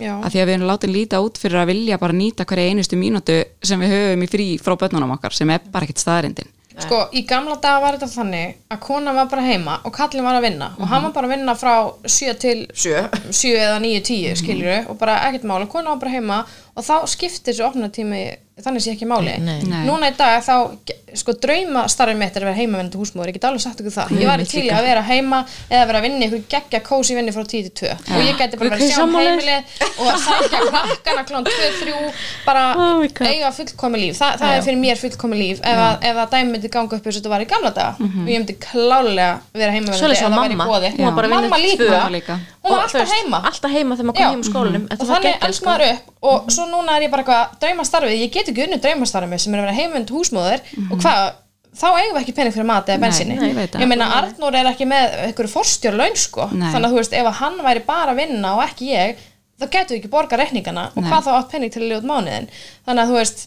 S1: já
S4: að því að við erum látið líta út fyrir að vilja bara nýta hverja einustu mínútu sem við höfum í frí frá börnunum okkar sem er bara ekkert staðarindin.
S1: Sko, í gamla daga var þetta þannig að konan var bara heima og kallin var að vinna og hann var bara að vinna frá 7 til
S3: sjö
S1: 7 eða 9, 10 skilur og bara ekkert mála, konan var bara heima og þá skiptir þessu opnatími þannig sé ekki máli.
S2: Nei.
S4: Nei.
S1: Núna í dag þá, ge- sko, drauma starfið mitt er að vera heimavennandi húsmóður, ég get alveg sagt ykkur það ég var
S4: mitt
S1: til í að vera heima eða vera að vinna í ykkur geggja kósi vinni frá 10 til 2 og ég geti bara
S2: Guð,
S1: verið að
S2: hvað
S1: sjá um
S2: sammála er?
S1: heimilið og að sækja krakkana klón 2-3 bara
S2: Oh my God.
S1: eiga fullkomi líf, Þa, það er fyrir mér fullkomi líf ef, að, ef að dæmi myndi ganga upp eins og þetta var í gamla daga og ég myndi klálega vera heimavennandi
S2: Svolítið
S1: eða
S2: Mhm. var
S1: það væri í
S2: mamma,
S1: boði
S2: hún var bara að vinna
S1: mamma
S2: til
S1: líka,
S2: tvö.
S4: Mamma líka.
S1: hún var
S2: Og, þú
S1: alltaf
S2: veist,
S1: heima
S2: alltaf heima þegar
S1: Já. Mhm.
S2: maður kom heim úr skólanum Þetta
S1: og
S2: var
S1: þannig
S2: geggjað,
S1: alls
S2: sko.
S1: maður upp og svo núna er ég bara eitthvað draumastarfið, ég get ekki unnið draumastarfið sem er að vera heimvend húsmóður
S2: Mhm.
S1: og hvað, þá eigum við ekki pening fyrir mat eða
S4: Nei,
S1: bensinni
S4: nei, ég veit það.
S1: ég meina Arnór er ekki með einhverju forstjórlaun sko,
S4: Nei.
S1: þannig að þú veist ef að hann væri bara að vinna og ekki ég þá getur við ekki borga reikningana og
S4: Nei.
S1: hvað þá átt pening til að ljóta mánuðin þannig að þú veist,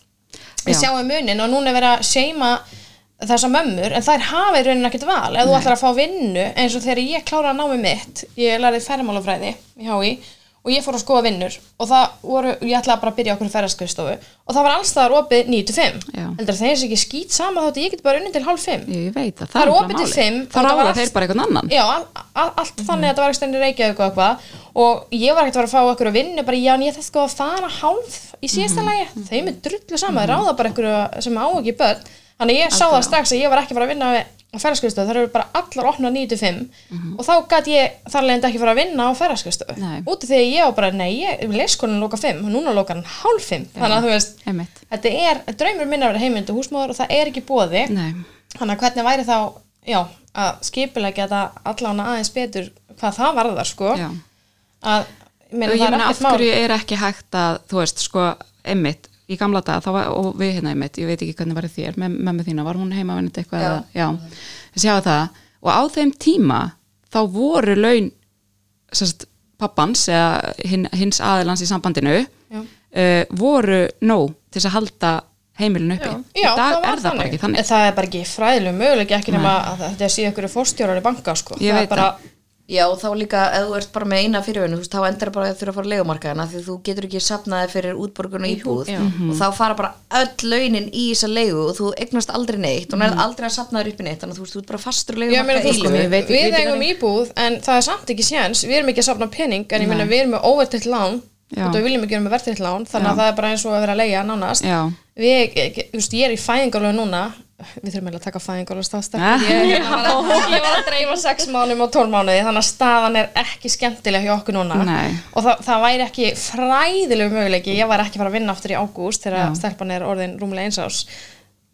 S1: við
S4: Já.
S1: sjáum munin og núna er verið að seima þessar mömmur, en þær hafa í raunin ekkert val ef þú ætlar að fá vinnu, eins og þegar ég kláraði námi mitt, ég lærði fermálafræði í HÍ og ég fór að skoða vinnur og það voru, ég ætlaði bara að byrja okkur ferðarskriðstofu og það var allstaðar opið 9-5
S4: Já.
S1: heldur það eins ekki skýt sama þótt að ég get bara unni til hálf 5
S4: Ég, ég veit að það
S1: Það er
S4: nefnilega
S1: opið til
S4: málið.
S1: fimm
S4: Þá
S1: og það var
S4: ráða
S1: allt-
S4: þeir bara eitthvað annan.
S1: Já, al- al- allt þannig að þetta var ekki stendin Reykjavík og eitthvað og ég var ekkert að fara að fá okkur að vinna bara já, en ég þess sko að fara hálf í síðasta
S4: Mhm,
S1: mm lagi, þeim er drullu sama ráða bara einhverju sem á ekki börn þannig að ég sá það strax að ég var ekki að fara að vinna á ferðarskriðstofu, það eru bara allar opna 9-5 og þá gæti ég þar leiðandi ekki fara að vinna á ferðarskriðstofu
S4: Mhm. Nei.
S1: út af því að ég var bara, nei, ég, leikskonin lóka 5 og núna lókar hann hálf 5 þannig að þú veist,
S4: Einmitt.
S1: þetta er, draumur minn er að vera heimildu húsmóður og það er ekki bóði
S4: Nei,
S1: Þannig að hvernig væri þá, já, að skipulegja þetta allan aðeins betur hvað það varðar, sko.
S4: já.
S1: Að, ég meina,
S4: og
S1: það
S4: ég
S1: er
S4: meina af
S1: ekkert mál.
S4: hverju er ekki hægt að þú veist sko einmitt í gamla dag þá var, og við hérna einmitt, ég veit ekki hvernig var þér með mömmu þína, var hún heima vennit eitthvað já, eða, já. þess ég hafa það og á þeim tíma þá voru laun sérst, pappans eða hin, hins aðilans í sambandinu
S1: Já.
S4: uh, voru nóg til þess að halda heimilin uppi
S1: Já,
S4: í dag
S1: var
S4: er það bara ekki þannig
S1: En Það er bara ekki fræðilega mögulega ekki nema að þetta sé ykkur fórstjórar í banka, sko.
S4: Ég
S1: það
S4: veit
S1: er bara,
S3: Já, og þá líka, ef þú ert bara með eina fyrirvinnu, þú veist, þá endar bara að þurfa að fara á leigumarkaðina því þú getur ekki safnaði fyrir útborgun og íbúð
S2: Mhm.
S3: og þá fara bara öll launin í þessa leigu og þú eignast aldrei neitt og nærð
S2: Mhm.
S3: aldrei að safnaði upp í neitt þannig að þú veist, þú ert bara fastur
S1: ég
S3: á
S1: meina,
S3: leigumarkaði
S1: þú
S3: eilífð.
S1: sko,
S4: ég veit ekki,
S1: við
S4: veit ekki
S1: eigum íbúð, en það er samt ekki séns, við erum ekki að safna pening, en ég meina, við erum með óvertilt lán,
S4: Já.
S1: og við viljum ekki vera með vertilt lán, þannig
S4: Já.
S1: að það er bara eins og að vera að leiga nánast.
S4: Já.
S1: Við, þú veist, ég er í fæðingarlögu núna, við þurfum eiginlega að taka fæðingarlögu
S4: Ah.
S1: staðstakk, ég, ég var að dreifa sex mánum og tól mánuði, þannig að staðan er ekki skemmtileg hjá okkur núna
S4: Nei.
S1: og það, það væri ekki fræðilegu möguleiki, ég var ekki að fara að vinna aftur í ágúst þegar stelpan er orðin rúmlega einsás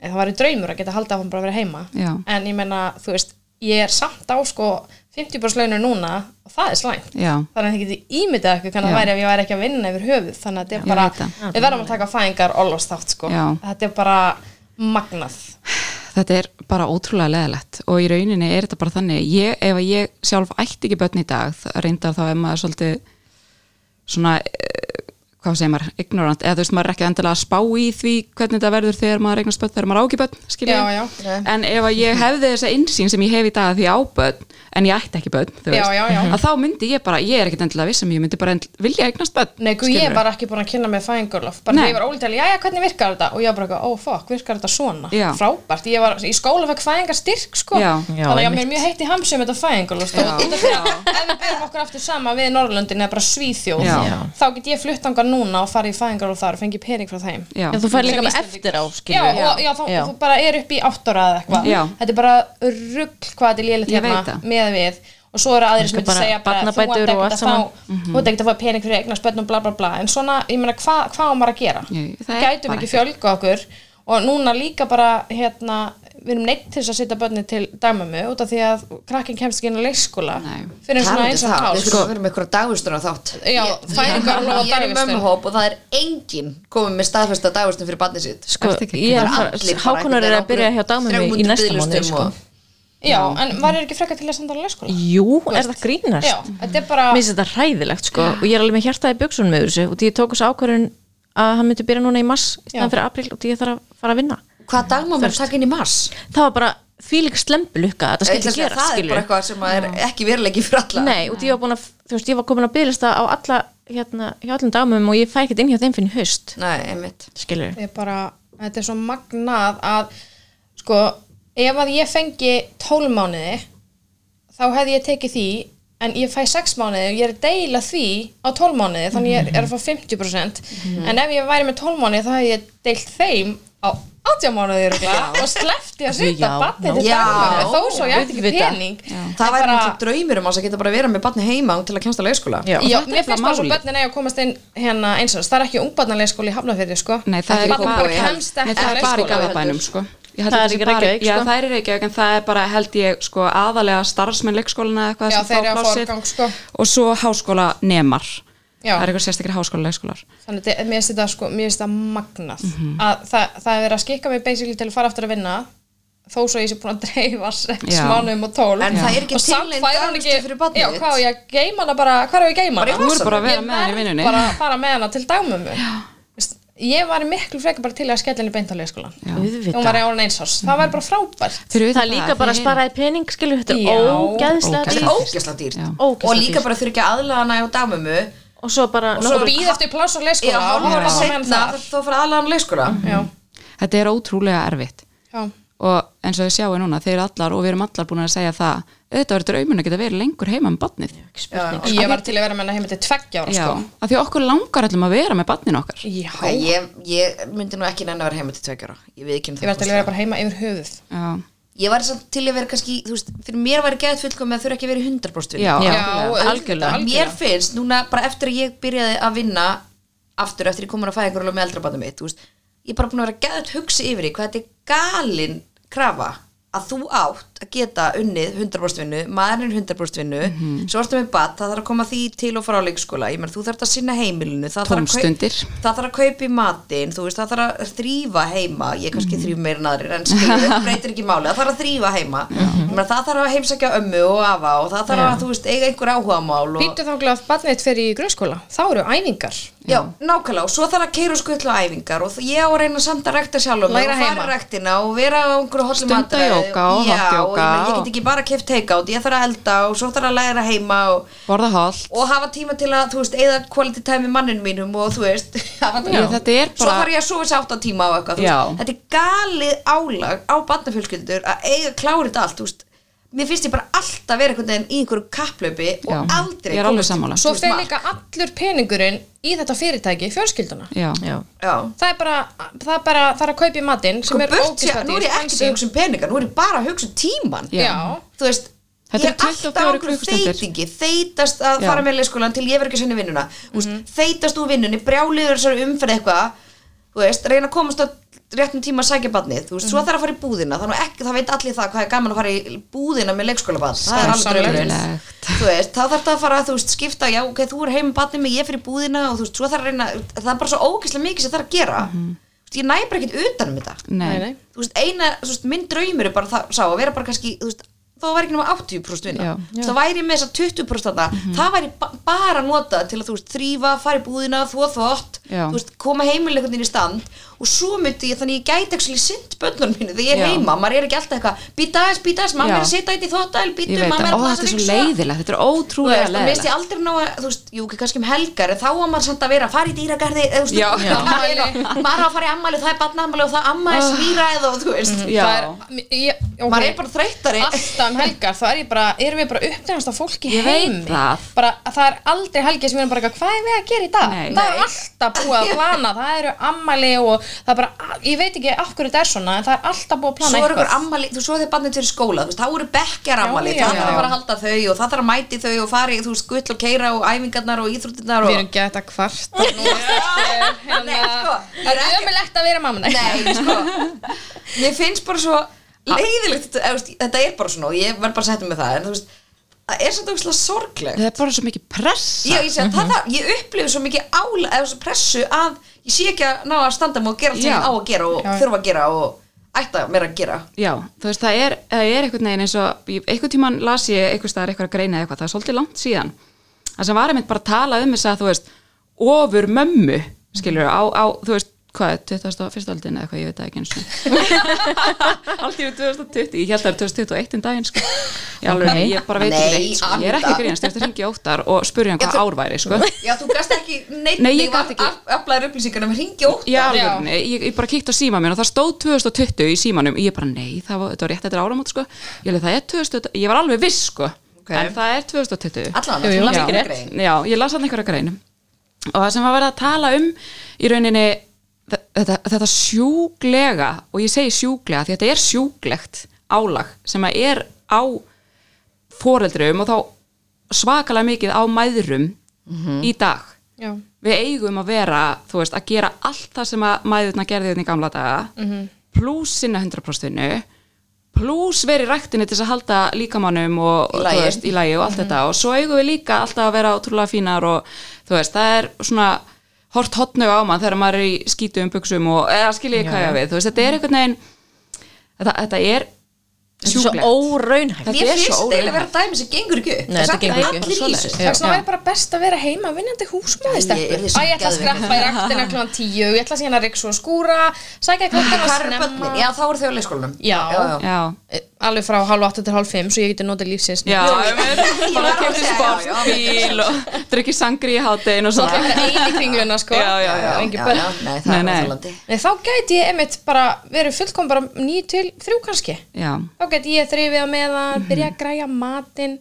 S1: það var í draumur að geta halda áfram bara að vera heima
S4: Já.
S1: en ég meina, þú veist, ég er samt á sko 50% launur núna og það er slæmt
S4: Já.
S1: þannig að þið getið ímyndað eitthvað hvernig það væri ef ég væri ekki að vinna yfir höfuð þannig að þetta
S4: Ég
S1: er bara,
S4: veit það.
S1: við verðum að taka fæðingar ólástátt sko,
S4: Já.
S1: þetta er bara magnað
S4: þetta er bara ótrúlega leðalett og í rauninni er þetta bara þannig ég, ef að ég sjálf ætti ekki börn í dag það reyndar þá er maður svolítið svona eh, hvað segir maður, ignorant, eða þú veist maður er ekki endilega að spá í því hvernig þetta verður þegar maður eignast börn, þegar maður á ekki börn, skilja
S1: Já, já.
S3: Nei.
S4: en ef að ég hefði þessa innsýn sem ég hef í dag því ég á börn, en ég ætti ekki börn þú
S1: Já,
S4: veist,
S1: já, já.
S4: að þá myndi ég bara, ég er ekkit endilega vissum ég myndi bara endl, vilja eignast börn
S1: Nei, guð, ég
S4: skilurðu.
S1: var ekki búin að kynna með fæðingarlof bara
S4: Nei.
S1: þegar ég var ólítið, jæja, hvernig virkar þetta og ég var bara, eitthvað, ó, fuck, virkar þetta svona
S4: Já.
S1: frábært, ég var í skóla fæk fæðingarstyrk sko,
S4: Já.
S1: þannig
S2: Já,
S1: að ég var
S2: einmitt.
S1: mér mjög heitt í hamsi um þetta fæðingarlof
S4: Já.
S1: og út af því að ef við berum okkur aftur sama við Norrlöndin eða bara Svíþjóð
S4: Já.
S2: Já.
S1: þá get ég flutt ánga núna og farið í fæðingarlof þar og fengi pening frá þeim
S4: Já.
S2: Já, þú fær líka
S1: Sem
S2: með
S1: Íslendingur.
S2: eftir á,
S1: Já,
S2: skilur
S1: og já, þá, þú bara er upp í 8 ára eða eitthvað
S4: Já.
S1: Þetta er bara rugg hvað þetta er lélegt
S4: Ég
S1: hérna
S4: veit það.
S1: með við og svo eru aðrir sem
S2: Líka
S1: myndi
S2: bara
S1: segja bara, þú ert
S2: barnabætur og
S1: ekkert
S2: allt
S1: að fá þú ert ekkert að fá pening fyrir eignast bönnum bla bla bla en svona, ég meina, hva, hvað á maður að gera?
S4: Ég- það er
S1: Gætum
S4: bara
S1: ekki fjölga okkur og núna líka bara, hérna við erum neitt til þess að setja bönni til dagmömmu út af því að krakkin kemst ekki inn á leikskóla
S4: Nei.
S1: fyrir svona
S3: Talandi um
S1: eins og
S3: það,
S1: hálf
S3: við
S1: sko.
S3: skulum vera með einhverja dagvistur á þátt
S1: Já, fæðingarlof og
S3: Ég er í
S1: dagvistun.
S3: mömmuhóp og það er enginn komið með staðfesta dagvistun fyrir barnið sitt
S2: Sko,
S4: Ertu ekki að
S2: ég er að
S3: Það er
S2: fara,
S3: allir bara
S2: hákonar
S3: einhvern
S2: er
S3: veginn
S2: að byrja hjá dámum í
S3: 300
S2: næsta mánu,
S3: biðlistum
S2: sko.
S3: og-
S1: Já, en var ekki frekar til að senda á leikskóla?
S2: Jú, er það grínast?
S1: Já, þetta er bara
S2: Mér finnst þetta hræðilegt, sko, og ég er alveg með hjartaði bjöksunum með þessu, og því ég tók þessu ákvörðun að hann myndi byrja núna í mars, í
S1: Já.
S2: staðan fyrir apríl, og því ég þarf að fara að vinna.
S3: Hvað dagmamma er takk inn í mars?
S2: Það var bara þvílík slembulukka, að þetta
S3: Ég
S2: skildi
S3: ætla að segja,
S2: gera,
S3: það er bara
S2: skilur.
S3: eitthvað sem er ekki veruleiki fyrir alla
S2: Nei, og því ég var búin að, þú veist, ég var komin að byrjasta á alla, hérna, hjá allum dámum og ég fæ ekkert inn hjá þeim fyrir haust,
S3: Nei, einmitt
S2: skilur.
S1: ég bara, þetta er svo magnað að sko, ef að ég fengi 12 mánuði þá hefði ég tekið því en ég fæ 6 mánuði og ég er að deila því á 12 mánuði, þannig ég er að fá 50% en ef ég væri með 12 mánuði þá hefði ég deilt þeim á 18 mánuði örugglega og sleppt ég að setja
S2: Já,
S1: batnið til
S3: já.
S1: dagmánuði þó svo
S2: Ég
S1: ég
S2: veit
S1: ætti
S2: ekki við það.
S1: pening
S3: Það væri náttúrulega draumur um að það geta bara verið með barni heima til að kemst að leikskóla
S2: Já.
S1: Já,
S4: Og þetta er
S1: mér finnst bara
S4: nefnilega
S1: svo
S4: málið.
S1: börnin eiga að komast inn hérna eins og þess. það er ekki ungbarnalegskóli í Hafnafyrði, sko.
S4: Nei, það er
S1: Barn
S4: bara,
S1: bara
S3: Kópavogi.
S1: kemst
S4: Nei,
S1: ekki á
S4: það er bara
S1: leikskóla.
S4: í Garðabænum sko. Ég held
S2: Það er
S4: að
S2: ekki
S4: þetta sé bara-
S2: Reykjavík,
S4: Já,
S2: sko.
S4: það er í Reykjavík en það er bara held ég sko, aðalega starfsmenn leikskólana eða eitthvað
S1: Já,
S4: sem fá
S1: þeir eru að
S4: plássið.
S1: forgang, sko.
S4: og svo háskóla nemar
S1: Já.
S4: það er eitthvað sérstakir háskóla leikskólar
S1: þannig að þetta- mér finnst þetta sko, mér finnst þetta magnað
S4: Mhm.
S1: að það, það er verið að skikka mig basically til að fara aftur að vinna þó svo ég sé búin að dreifa sex
S4: Já.
S1: mánuðum og tól
S3: En það er ekki
S1: og samt
S3: til nein
S1: fær hún
S3: dagvistun fyrir barnið
S1: já,
S3: þitt.
S1: hvað á ég að geima hana bara, hvað er ég að geima
S3: Bara í
S1: hana
S4: þú eru bara að vera
S1: Ég
S4: með henni í
S1: verð
S4: vinnunni
S1: bara að fara með hana til dagmömmu Veist, ég var miklu frekar bara til að skella henni beint á leikskólan
S2: Auðvitað.
S1: hún var í árun einsás, það var bara frábært
S4: Fyrir
S2: Það
S4: utan
S2: er líka bara að
S4: þeir-
S2: sparaði pening, skilur, þetta
S1: Já.
S2: er ógeðslega
S3: Það er
S2: dýrt.
S3: ógæsla dýrt
S4: Já.
S2: Ógeðslega
S3: Og líka
S2: dýrt.
S3: bara þurfi ekki að aðlaga hana hjá dagmammu
S2: og svo bara
S1: og svo
S2: nokkur-
S1: býð eftir pláss á
S3: Já,
S1: leikskóla og
S3: hálfa
S1: horfa
S3: ára
S1: bara með henni
S3: setna
S1: þar Mm.
S3: þarf þá að fara aðlaga hana í leikskóla
S1: já,
S4: þetta er ótrúlega erfitt
S1: já,
S4: og eins og við sjáum núna, þeir eru allar og við erum allar búin að segja það auðvitað verður draumun að geta verið lengur heima með barnið
S1: ég var til að vera með henni heim til tveggja ára
S4: Já,
S1: sko
S4: af því okkur langar allum að vera með barnin okkar
S1: já,
S3: Nei, Ég, ég myndi nú ekki nenni að vera heima til tveikjara Ég veit ekki um
S1: ég var til að vera bara heima yfir höfuð
S4: Já,
S3: Ég var samt til að vera kannski, þú veist, fyrir mér var gæðt fullkom með að þurfa ekki að vera í 100% vinna.
S4: já,
S2: Já.
S1: auðvitað,
S2: algjörlega.
S3: Mér finnst núna bara eftir að ég byrjaði að vinna aftur eftir ég komin að fæða einhverjulega með eldrabandu mitt, þú veist, ég er bara búin að vera gæðt hugsi yfir í hvað þetta er galin krafa að þú átt að geta unnið 100% vinnu, maðurinn 100% vinnu, svo ertu með bat, það þarf að koma því til og frá leikskóla, ég menn þú þarf að sinna heimilinu, það þarf að kaup-
S4: Tómstundir.
S3: það þarf að kaupa í matinn, þú veist, það þarf að þrýfa heima, ég kannski mm. þrýf meira en aðrir en skilur, þetta breytir ekki máli, það þarf að þrýfa heima mm. það þarf að heimsækja ömmu og afa og það þarf að, þú veist, eiga einhver áhugamál og...
S1: Býtu þá glöf barnið fyrir í grunnskóla, þá eru æfingar.
S3: Já, nákvæmlega, og svo þarf að keira skuttla æfingar og þ- ég á að reyna samt að rekta sjálfum mig
S1: Læra
S3: og fara
S1: heima.
S3: rektina og vera á einhverju hollum
S4: Stunda jóga og
S3: Já, og
S4: vatnjóga
S3: ég, meina, ég
S4: og-
S3: get ekki bara keft take-out, ég þarf að elda og svo þarf að læra heima og,
S4: borða holt
S3: og hafa tíma til að, þú veist, eða quality time með manninu mínum og þú veist hafa
S4: Já, þetta er
S3: Svo
S4: bara-
S3: þarf ég að sofa sér 8 tíma á eitthvað þú
S4: Já.
S3: veist. Þetta er galið álag á barnafjölskyldur að eiga klárið allt, þú veist Mér finnst ég bara alltaf vera einhvern veginn í einhverju kapplaupi og
S4: Já,
S3: aldrei
S4: ég er alveg
S3: komast-
S4: sammála.
S1: Svo
S3: þú veist,
S1: fer
S3: mark.
S1: líka allur peningurinn í þetta fyrirtæki, fjölskylduna.
S4: Já,
S2: Já.
S3: Já
S1: Það er bara, það er bara, það er að kaupa í matinn sem
S3: Sko
S1: er
S3: burt
S1: ógeðslega
S3: sér, nú er ég
S1: dýrt,
S3: ekkert að hugsa um peningar, nú er ég bara að hugsa um tíman
S1: Já.
S4: Já.
S3: Þú veist,
S4: Þetta
S3: ég er
S4: eru
S3: alltaf á
S4: 24
S3: einhverju
S4: klukkustundir.
S3: þeytingi Þeytast að
S4: Já. Mhm.
S3: fara með leikskólan til ég verð ekki að sinni vinnuna mm -hmm. Þeytast úr vinnunni, brjáliður þessari umferð eitthvað Þú veist, reyna að komast að réttum tíma að sækja barnið, þú veist,
S4: Mhm.
S3: svo þarf að fara í búðina þannig að ekki, það veit allir það hvað er gaman að fara í búðina með leikskóla það er alveg
S1: Sannarlega.
S3: draumurinn. þú veist, þá þarf það að fara, þú veist, skipta já, ok, þú er heim með barnið mig, ég fyrir búðina og þú veist, svo þarf að reyna, það er bara svo ógeðslega mikið sem það er að gera,
S4: Mhm.
S3: þú veist, ég næ bara ekkert utan um þetta,
S4: Nei.
S1: nei.
S3: þú veist, eina, þú veist, minn draumur er bara það, sá, að vera bara kannski, þú veist, þá væri ekki nema 80% vinna,
S4: Já. Mhm.
S3: Þú veist, þá væri ég með þess að 20% þarna, það væri ba bara nota til að, þú veist, þrýfa, fara í búðina, þvó þvott,
S4: Já.
S3: þú veist, koma heimileikundin í stand og svo myndi ég, þannig ég gæti ekki sint bönnum mínu þegar ég er
S4: Já.
S3: heima, maður er ekki alltaf eitthvað, býta aðeins, býta aðeins, mamma
S4: Já.
S3: er að setja þetta í þvóttæl,
S4: ég
S3: býtu,
S4: veit
S3: mamma
S4: að,
S3: er
S4: ó
S3: að
S4: þetta er svo leiðilegt, þetta er
S3: Þú veist,
S4: ótrúlega
S3: og minnst ég
S4: leiðilegt
S3: aldrei ná að, þú veist, jú, ok, kannski um helgar en þá var maður samt að vera að fara í dýragarði eða, þú veist,
S4: Já. Já.
S3: það er- maður á að fara í ammæli, það er barnammæli og það amma er svírað og þú veist,
S4: Já.
S1: Það er, ég, okay.
S3: maður er bara þreytari
S1: alltaf um helgar, þá er ég bara, erum við bara uppdæðast á fólki
S4: Ég veit
S1: heimi
S4: það.
S1: bara, það er aldrei helgi sem við erum bara, eitthvað, hvað er við að gera í dag?
S4: Nei.
S1: það er alltaf búið að plana, það eru ammali og það er bara, ég veit ekki af hverju þetta er svona, en það er alltaf búið að
S3: svo
S1: plana
S3: er ykkur ammæli, þú svo er þið barnið til skóla þú veist, þá eru bekkjar ammæli,
S1: Já,
S3: það
S1: já,
S3: þarf að
S1: já.
S3: fara að halda þau og það þarf að mæti þau og fari, þú veist, gull og keira og æfingarnar og íþróttirnar
S1: við
S3: og sko,
S1: erum gett að kvart
S3: Nei, sko,
S1: sko, það er ömulegt að vera mamma
S3: Nei, sko Mér finnst bara svo leiðilegt þetta, eða, þú veist, þetta er bara svona og ég verð bara að setja með það en þú veist, það er svona ógeðslega sorglegt
S4: það er bara svo mikið pressa
S3: Já, ég, sé, mm það, það, ég upplifi svo mikið ála eða svo pressu að ég sé ekki að ná að standa mig og gera allt sem
S4: Já.
S3: ég á að gera og þurfa að gera og ætta mér að gera
S4: Já, þú veist, það er, það er einhvern veginn eins og ég- einhvern tímann las ég einhvers staðar eitthvað að greina eða eitthvað, það er svolítið langt síðan það sem var einmitt bara að tala um þess að þú veist, ofur mömmu skilur, á, á þú veist, hvað 21. aldin eða eitthvað, ég veit það ekki eins og aldrei 2020 ég held að það er 2021 um daginn sko. ég, alveg, ég bara veit
S3: Nei,
S4: ekki reitt sko. ég er ekki að
S3: anda.
S4: grínast, ég ætti að ringja óttar og spurja hann
S3: Já,
S4: hvað
S3: þú-
S4: ár væri sko.
S3: Já, þú gast ekki neitt
S4: Nei, ég gat ekki.
S3: Aflaðir um upplýsingarnum, ringi ótt
S4: Já,
S1: Já.
S4: alveg, ég, ég bara kíkti á síma minn og það stóð 2020 í símanum ég bara nei, það var, þetta var rétt eftir áramót sko. ég, alveg, það er 2020, ég var alveg viss sko. en það er 2020
S3: Allan,
S2: Jú, jú,
S3: þú
S2: já.
S3: last ekki
S2: Rétt.
S3: grein
S4: Já, ég las hann einhverja grein og það sem var verið að tala um í rauninni þ- þetta, þetta sjúglega og ég segi sjúglega því þetta er sjúglegt álag sem að er á foreldrum og þá svakalega mikið á mæðrum í dag
S1: Já.
S4: við eigum að vera, þú veist, að gera allt það sem að mæðurna gerði þetta í gamla daga mm
S3: Mhm.
S4: -hmm. pluss sinna 100% vinnu pluss verið ræktinni til þess að halda líkamannum og,
S3: Í
S4: og
S3: lagi. Mhm.
S4: þú veist, í lagi og allt þetta og svo eigum við líka alltaf að vera ótrúlega fínar og þú veist, það er svona hort hotnug á mann þegar maður er í skítum buksum og eða skiljið hvað ég á við þú veist, þetta er einhvern veginn þetta, þetta er
S2: Þetta er
S4: sjúklegt
S2: svo óraunhægt
S3: Mér
S4: er
S3: finnst
S4: svo
S3: þetta eiginlega
S4: óraunhægt.
S3: vera dæmi sem gengur ekki upp
S2: Nei, þetta gengur ekki upp.
S3: upp Allir í
S2: Svoleiðis.
S3: þessu
S1: Þess
S4: Já.
S1: vegna væri bara best að vera heima vinnandi húsmaði
S3: Já, ég
S1: stelpur.
S3: yrði
S1: Æ,
S3: svo
S1: ég ætla að
S3: geðveik.
S1: skrappa í rættina kl. 10, ég ætla síðan að riksu og skúra, sækja klokkan að
S3: Hvar eru
S1: snemma.
S3: börnin? Já, þá eru þau á leikskólanum
S1: Já.
S4: Já,
S1: Eh, Alveg frá hálf 8 til hálf 5, svo ég geti notið lífsins.
S4: já, ég
S3: Ég
S4: veit,
S3: var
S4: bara
S3: að
S4: kemur
S3: segja, já, já,
S4: sportbíl og drukki sangri í háttegin og
S1: Svo
S4: svona
S1: ætla ég eini kringluna, sko.
S4: Já, já, já,
S1: Og engin börn.
S3: Nei, það
S4: Nei,
S3: er
S4: nei.
S3: náttúrulega
S1: Nei, þá gæti ég einmitt bara verið fullkom bara 9 til 3 kannski.
S4: Já,
S1: Þá gæti ég þrifið á meðan, byrja að græja matinn,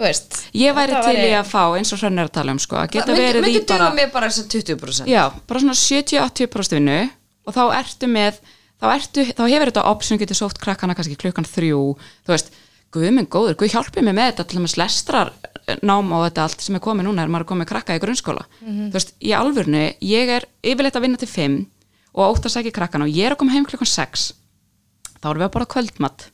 S1: þú veist.
S4: Mhm. ég væri
S1: Þetta
S4: til í að fá eins og hrönn er að tala um sko, að geta verið í
S3: myndi
S4: bara
S3: duga mér bara þessi 20%
S4: já, bara svona 70-80% vinnu og þá ertu með þá, ertu, þá hefur þetta option getur sótt krakkana kannski klukkan þrjú, þú veist guð minn góður, guð hjálpi mér með þetta til þess lestrar eh, nám og þetta allt sem er komið núna er maður er komið krakka í grunnskóla þú veist, í alvörnu, ég er yfirleitt að vinna til 5 og ótt að sækja krakkana og ég er að koma heim klukkan 6 þá erum við að borða kvöldmatt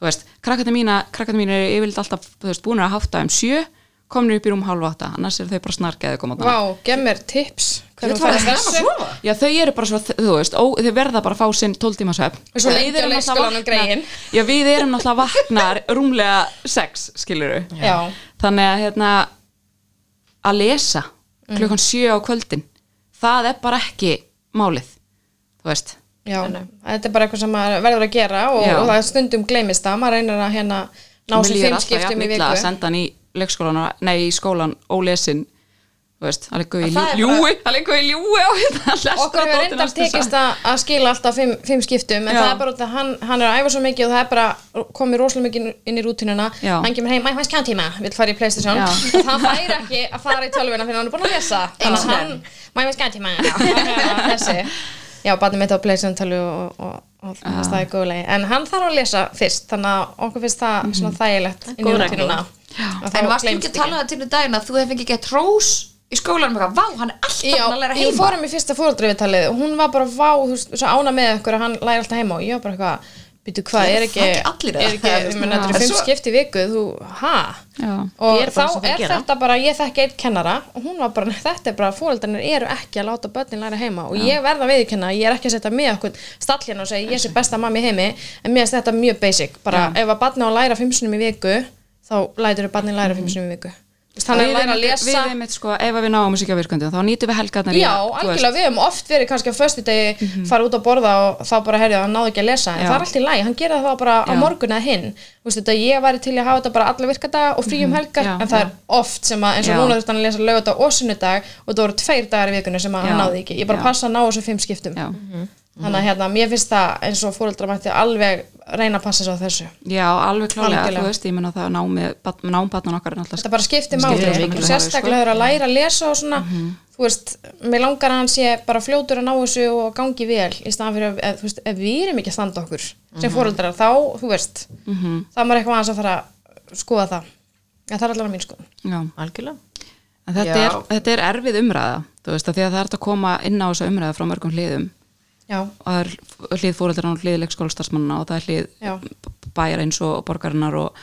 S4: þú veist, krakkarnir mína, krakkarnir mína eru yfirleitt alltaf, þú veist, búin að hátta um 7 komnir upp í rúm hálfa átta, annars eru þau bara snargeði að koma
S1: Vá, gef mér tips.
S3: Þú
S1: Hvernig
S3: ert
S1: þú
S3: bara
S1: ferð
S3: snemma að
S1: þessu.
S3: sofa
S4: Já, þau eru bara svo, þú veist, ó, þau verða bara að fá sinn 12 tíma svefn.
S1: Og svo lengi á
S4: erum náttúrulega
S1: leikskólanum
S4: vakna-
S1: greyin.
S4: Já, við erum náttúrulega vaknar rúmlega 6, skilur við.
S1: Já.
S4: Þannig að, hérna, að lesa
S1: Mm.
S4: klukkan 7 á kvöldin, það er bara ekki málið, þú veist.
S1: Já, þetta er bara eitthvað sem maður verður að gera og,
S4: Já.
S1: og það er stundum gleymist það, maður reynir að hérna ná
S4: Mér
S1: sér
S4: líður
S1: fimm
S4: alltaf
S1: skiptum
S4: jafn
S1: í
S4: illa að
S1: viku.
S4: senda hann í leikskólan, og- nei, í skólan ólesin, þú veist, það liggur
S3: Það
S4: í
S3: er bara-
S4: ljúi, það liggur í ljúi á hérna lestur
S1: Okkur hefur reyndar tekist að, að skila alltaf fimm, fimm skiptum en
S4: Já.
S1: það er bara út að hann, hann er að æfa svo mikið og það er bara komið rosalega mikið inn í rútinuna
S4: Já.
S1: hann kemur heim, æ, hvað er skjántíma, vill fara í Playstation
S4: Já.
S1: það fær ekki að fara í tölvuna fyrir hann er búin að lesa þannig að hann, mæ, hvað er skjántíma þessi, já, barnið mitt á Playstation tölvu og, og, og það er staðið góðlegi en hann þarf að lesa fyrst þannig að okkur finnst það
S4: Mhm.
S1: svona þægilegt inn í
S2: Góð regla.
S1: rútinuna
S3: En varst þú ekki að tala það til um daginn að þú hef ekki gett hrós í skólanum eitthvað, vá, hann er alltaf
S1: Já,
S3: búinn að læra
S1: ég
S3: heima
S1: fórum í fyrsta fóreldrivitalið og hún var bara vá, þú veist, svo ána með ykkur að hann læri alltaf heima og ég var bara eitthvað, býtu hvað,
S3: Eru
S1: er ekki,
S3: það ekki allir eða?
S1: er ekki,
S3: Það er
S1: ég
S3: svona-
S1: meina, þetta
S3: En
S1: eru fimm
S3: svo-
S1: skipti í viku, þú, ha?
S4: Já.
S1: Og
S2: Ég er bara
S1: þá
S2: eins og þeir
S1: er
S2: gera.
S1: þetta bara, ég þekki eitt kennara og hún var bara, þetta er bara, fóreldrarnir eru ekki að láta börnin læra heima og ég verða að viðurkenna, ég er ekki að setja mig okkur stallin og segja, ég sé besta mamma í heimi, en mér er þetta mjög basic, bara ef að barni á að læra fimm sinnum í viku, þá lætur þau barnin læra fimm sinnum í viku. Þú veist, Þannig að
S4: Við
S1: læra að
S4: einmitt-
S1: lesa
S4: Við einmitt sko, ef að við náum þessi ekki að virkandi þá nýtum við helgarnar í
S1: Já,
S4: að, þú veist, Mhm.
S1: algjörlega, við höfum oft verið kannski á föstu degi fara út að borða og þá bara herja hann náði ekki að lesa, en
S4: Já.
S1: það er allt í lagi hann gera það bara á
S4: Já.
S1: morgun eða hinn Þú veist þetta, ég væri til í að hafa þetta bara alla virkadaga og frí um helgar,
S4: Mhm. Já,
S1: en það er oft sem að, eins og
S4: Já.
S1: núna þurfti hann að lesa lögata og sunnudag og það voru tveir dagar í vikunni sem að hann
S4: Já.
S1: náði ekki, ég bara
S4: Já.
S1: passa að ná þessu fimm skiptum
S4: Já.
S1: þannig að hérna, mér finnst það eins og fóreldrar mætti alveg reyna að passa svo þessu
S4: Já, alveg klálega,
S1: Algjörlega.
S4: þú veist, ég menna það námbatnan okkar er náttúrulega
S1: þetta bara skiptir
S4: Skiptir
S1: máli
S4: miklu
S1: og
S4: máli,
S1: sérstaklega
S4: sko.
S1: þegar að læra að lesa og svona, þú veist, mér langar að hann sé bara fljótur að ná þessu og gangi vel í staðan fyrir að, ef, þú veist, ef við erum ekki að standa okkur sem fóreldrar, þá, þú veist þá er maður eitthvað aðeins að fara að skoða það, en það er allavega mín skoðun
S4: Já.
S2: algjörlega
S4: En þetta,
S3: Já.
S4: er, þetta er erfið umræða, þú veist, að því að það er hægt að koma inn á þessa umræða frá mörgum hliðum
S1: já,
S4: og það er hlið fóreldrarna og hlið leikskólastarfsmannana og það er
S1: Já.
S4: hlið bæjar eins og borgarinnar og,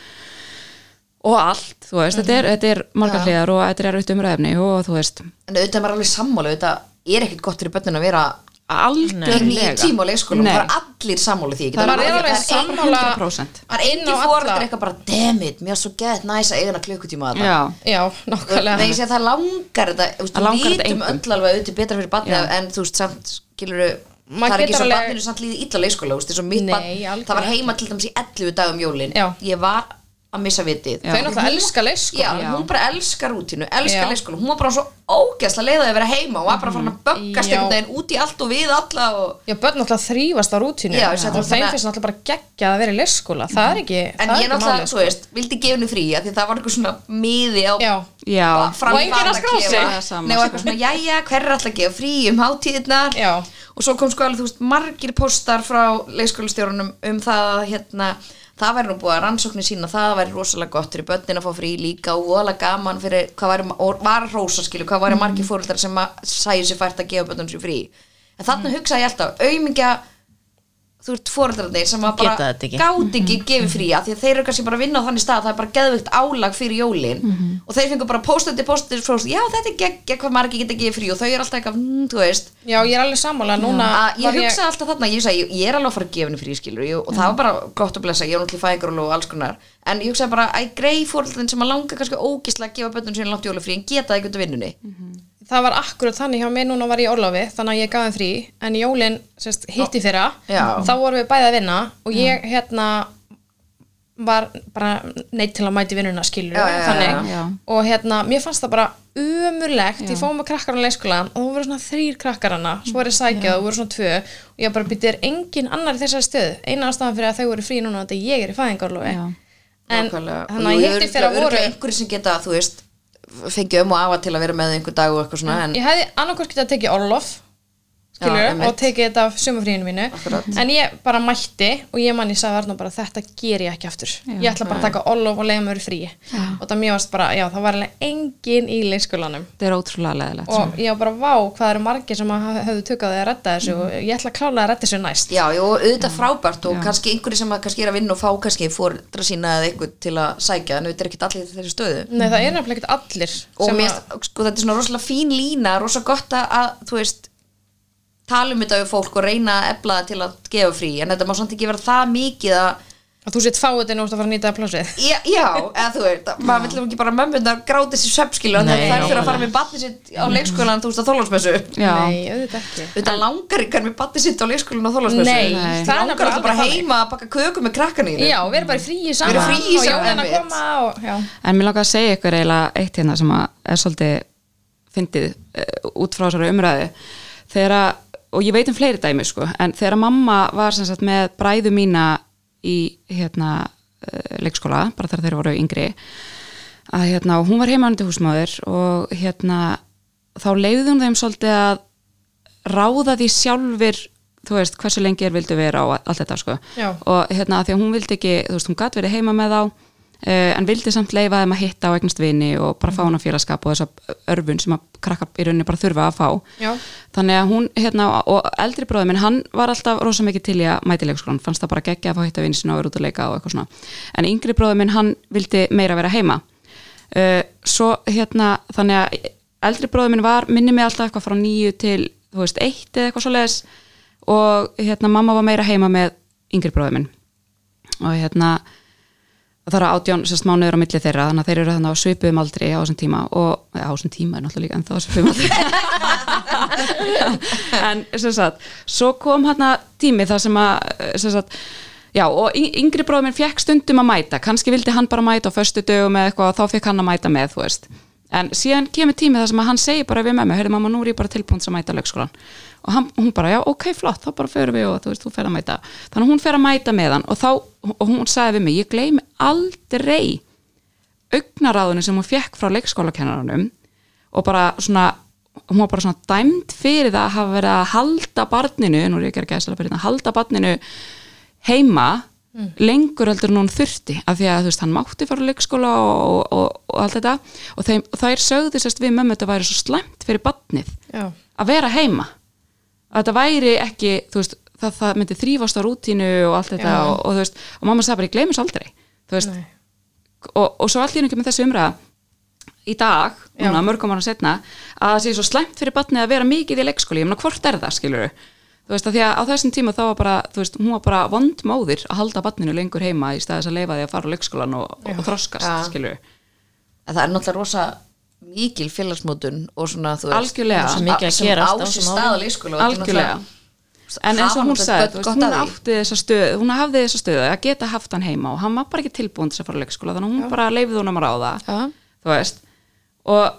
S4: og allt, þú veist, þetta
S1: Mm-hmm.
S4: er, þetta er margar hliðar og þetta er erfitt umræðefni og þú veist,
S3: en auðvitað er maður alveg sammála auðvitað er ekkert gott fyrir börnin að vera inn í
S4: algjörlega.
S3: tíma og leikskólum
S4: Nei.
S3: það er allir sammála því ég get
S4: Það
S3: alveg-
S1: maður er
S3: það
S1: alveg
S3: engin-
S1: sammála
S4: 100%.
S3: það er
S1: inn á
S3: engin fóreldri
S1: alla
S3: eitthvað bara damn it, mér er svo gett næs að eiga hana klukkutíma að
S4: Já,
S1: já,
S3: Nei, ég
S1: nákvæmlega
S3: segi að það langar þetta þú veist,
S4: Það
S3: Við
S4: langar þetta
S3: vitum
S4: engum.
S3: öll alveg auðvitað betra fyrir barni en þú veist samt, skilur
S1: Maður
S3: það er ekki
S1: getur
S3: svo
S1: alveg-
S3: barninu samt líði illa á leikskóla þú veist, eins og mitt
S1: Nei,
S3: barn,
S1: algjörlega
S3: það var heima til dæmis í 11 dagum jólin
S1: Já.
S3: ég var að missa vitið
S1: Þau náttúrulega
S3: Hún-
S1: elska leikskóla.
S3: Já,
S4: Já.
S3: hún bara elskar rútinu,
S1: Já.
S3: elskar leikskóla hún var bara svo ógeðslega leiðið að vera heima og var bara farin að
S1: Mm-hmm.
S3: böggast
S1: Já.
S3: einhvern veginn út í allt og við alla og
S1: já, börn náttúrulega þrýfast á rútínu
S3: Já,
S1: og
S3: ég
S1: þeim
S3: segi
S1: finnst
S3: það þannig að-
S1: náttúrulega bara geggjað að vera í leikskóla það er ekki,
S3: En
S1: það er
S3: ég
S1: ekki málið,
S3: náttúrulega,
S1: sko.
S3: þú veist, vildi gefinu frí af því það var eitthvað svona miði á
S1: já,
S4: já,
S3: Ba- fram-
S1: Og enginn að skrá
S3: faraklefa.
S1: sig.
S4: Það er sama,
S3: Nei, og eitthvað
S4: sko.
S3: svona, jæja, hver er alltaf að gefa frí um hátíðirnar
S1: Já.
S3: og svo kom sko alveg, þú veist, margir póstar frá leikskólistjórunum um það að hérna, það væri nú búið að rannsóknir sína það væri rosalega gott fyrir börnin að fá frí líka og voðalega gaman fyrir hvað væri, og var rosa skilu, hvað væri
S2: Mm.
S3: margir fóruldar sem að sæju sér fært að gefa börnum sér frí en þannig mm. hugsaði ég alltaf, aumingja þú ert fóreldrarnir sem að
S2: Geta
S3: bara
S2: þetta ekki. Mm.
S3: gáti ekki gefið frí af því að þeir eru kannski bara að vinna á þannig stað það er bara geðvikt álag fyrir jólin
S2: Mhm.
S3: og þeir fengur bara postandi, postandi, postandi já þetta er gegg, hvað margir geta gefið frí og þau eru alltaf eitthvað, mm, þú veist
S1: já, ég er alveg sammála núna
S3: að Ah, ég
S1: Hérna var
S3: hugsaði alltaf þarna, ég, sagði, ég, ég er alveg að fara að gefa henni frí skilur ég, og
S1: Mm.
S3: það var bara gott að blessa, ég er náttúrulega fæðingur og alls konar, en ég hugsaði bara að grei fóreldrarnir sem að langa kannski ógislega að gefa bönnum sinni langt jólafrí en geta það eitthvað vinnunni
S1: Mhm. það var akkurat þannig hjá mér núna var ég í orlofi þannig að ég gaf þeim frí en jólin sérst, hitti fyrra
S3: Já.
S1: þá vorum við bæði að vinna og ég hérna var bara neitt til að mæti vinnuna skilur
S3: Já, já, já,
S1: þannig
S4: já.
S1: og hérna, mér fannst það bara umurlegt ég fóðum að krakkar á leikskólan og þú voru svona þrýr krakkar hana, svo er ég sækjað og þú voru svona tvö og ég bara byrja er engin annar í þessari stöð eina ástæðan fyrir að þau voru frí núna þetta er ég er í fæðingarlofi
S4: Já.
S1: en
S3: Nákvæmlega.
S1: þannig
S3: Og
S1: að
S3: jú,
S1: hitti
S3: örugglega-
S1: fyrra voru
S3: örugglega einhverjir sem geta, þú veist, fengið um og afa til að vera með þau einhver dag og eitthvað svona en
S1: ég hefði annarkvort getað að tekið orlof skilur,
S3: Já, einmitt.
S1: og tekið þetta af sumafríinu mínu
S3: Akkurat.
S1: en ég bara mætti og ég manni sagði Arnó bara þetta ger ég ekki aftur ég ætla bara að taka orlof og leiða mér frí og það mér varst bara, já það var alveg engin í leikskólanum
S4: þetta er ótrúlega leðilegt.
S1: og ég var bara, vá, hvað eru margir sem að höfðu tökkað því að redda þessu og ég ætla að klála að redda þessu næst
S3: Já, jú, auðvitað frábært og kannski einhverjir sem að kannski er að vinna og fá kannski fóreldra sína eða eitthvað til að sækja en auðvitað er ekkert allir í þessu stöðu
S1: Nei, það er nefnilega ekkert allir
S3: og
S1: sem
S3: mér,
S1: að,
S3: finnst- sko, þetta er svona rosalega fín lína rosalega gott að, að, þú veist tala um þetta við fólk og reyna að ebla það til að gefa frí en þetta má samt ekki vera það mikið að
S1: að þú sett fáið þetta nú ert að fara að nýta plásið
S3: Já, já, eða þú veist, maður vill ekki bara mömmunar gráti sér
S2: Nei,
S3: söpskilu þannig að það er fyrir að
S2: nákvæmlega.
S3: fara með batni sitt á leikskólan, þú veist, að þólansmessu
S4: Já,
S1: Nei, auðvitað ekki
S3: auðvitað langar ykkur með batni sitt á leikskólinu og þólasmessu
S1: Nei,
S4: Nei.
S1: það er
S3: langar
S1: nefnilega
S3: alltaf bara
S1: alveg
S3: heima að baka köku með krakkan í
S1: Já, við erum bara í fríi saman
S3: Við erum fríi
S1: og
S3: saman,
S1: jólin að
S3: einmitt.
S1: koma og, já.
S4: En mér langar að segja ykkur eiginlega eitt hérna sem að er svolítið fyndið uh, út frá þessari umræðu þegar að, og ég veit um fleiri dæmi sko, en þegar að mamma var sem sagt með bræðu mína í hérna uh, leikskóla, bara þegar þeir voru yngri að hérna, og hún var heima undir húsmaður og hérna þá leiði hún þeim svolítið að ráða því sjálfir þú veist, hversu lengi er vildu vera og allt þetta sko
S1: Já.
S4: og hérna, af því að hún vildi ekki, þú veist, hún gat verið heima með þá uh, en vildi samt leifa þeim að hitta og eignast vini og bara fá hana félagskap og þessa örfun sem að krakka í rauninni bara þurfa að fá
S1: Já.
S4: þannig að hún hérna og eldri bróði minn hann var alltaf rosa mikið til í að mæti leikskólan fannst það bara geggja að fá að hitta vini sinna og vera út að leika og eitthvað svona en yngri bróði minn hann vildi meira vera heima uh, svo hérna þannig að eldri bróði minn var minni mig alltaf eitthvað frá nýju til þú veist eitt eða eitthvað svoleiðis og hérna mamma var meira heima með yngri bróði minn og hérna og það eru átján sérst mánuður á milli þeirra þannig að þeir eru þannig á svipuðum aldri á þessum tíma og eða á þessum tíma er náttúrulega líka en það á svipuðum aldri en sem sagt, svo kom hérna tími þar sem að eh, sem sagt, já og y- yngri bróður minn fekk stundum að mæta, kannski vildi hann bara mæta á föstu dögum eða eitthvað og þá fekk hann að mæta með þú veist, en síðan kemur tími þar sem að hann segir bara við með mig, heyrðu mamma nú er ég bara tilbúin að mæta á leikskólan og hann, hún bara já ok flott, þá bara förum við og þú veist, þú fer að mæta þannig að hún fer að mæta með hann og þá, og hún sagði við mig, ég gleymi aldrei augnaráðinu sem hún fekk frá leikskólakennaranum og bara svona hún var bara svona dæmd fyrir það að hafa verið að halda barninu, nú er ég að gera gæðslega fyrir þetta halda barninu heima lengur heldur en hún þurfti af því að þú veist, hann mátti fara á leikskóla og, og, og allt þetta og þeim, þær sögðu sérst við mömmu þetta væri svo slæmt fyrir barnið
S1: Já.
S4: að vera heima að þetta væri ekki, þú veist það, það myndi þrýfast á rútínu og allt þetta
S1: Já.
S4: og, og þú veist, og mamma sagði bara ég gleymis aldrei þú veist,
S1: Nei.
S4: og, og svo allir ekki með þessu umræða í dag,
S1: Já.
S4: núna, mörgum ára setna að það sé svo slæmt fyrir barnið að vera mikið í leikskóli, ég meina hvort er það, skilur þú veist, að því að á þessum tíma þá var bara þú veist, hún var bara vondmóðir að halda barninu lengur heima í staðis að leifa því að fara á leikskólan og, og þroskast, ja.
S3: Já. En það er náttúrulega rosa mikil félagsmótun og svona þú veist
S4: Algjörlega.
S2: Svo mikið að
S3: sem
S2: gerast
S3: á
S2: á
S3: sér
S2: þessum árum.
S3: stað á leikskóla og þetta er
S4: algjörlega
S3: náttúrulega-
S4: en eins
S3: hafa
S4: og hún
S3: náttúrulega börn
S4: sagði, þú veist,
S3: gott
S4: hún
S3: af því.
S4: átti þessa stöð hún hafði þessa stöðu að geta haft hann heima og hann var bara ekki tilbúin til þess að fara á leikskóla þannig að hún bara leifði honum að ráða
S2: Já.
S4: þú veist og,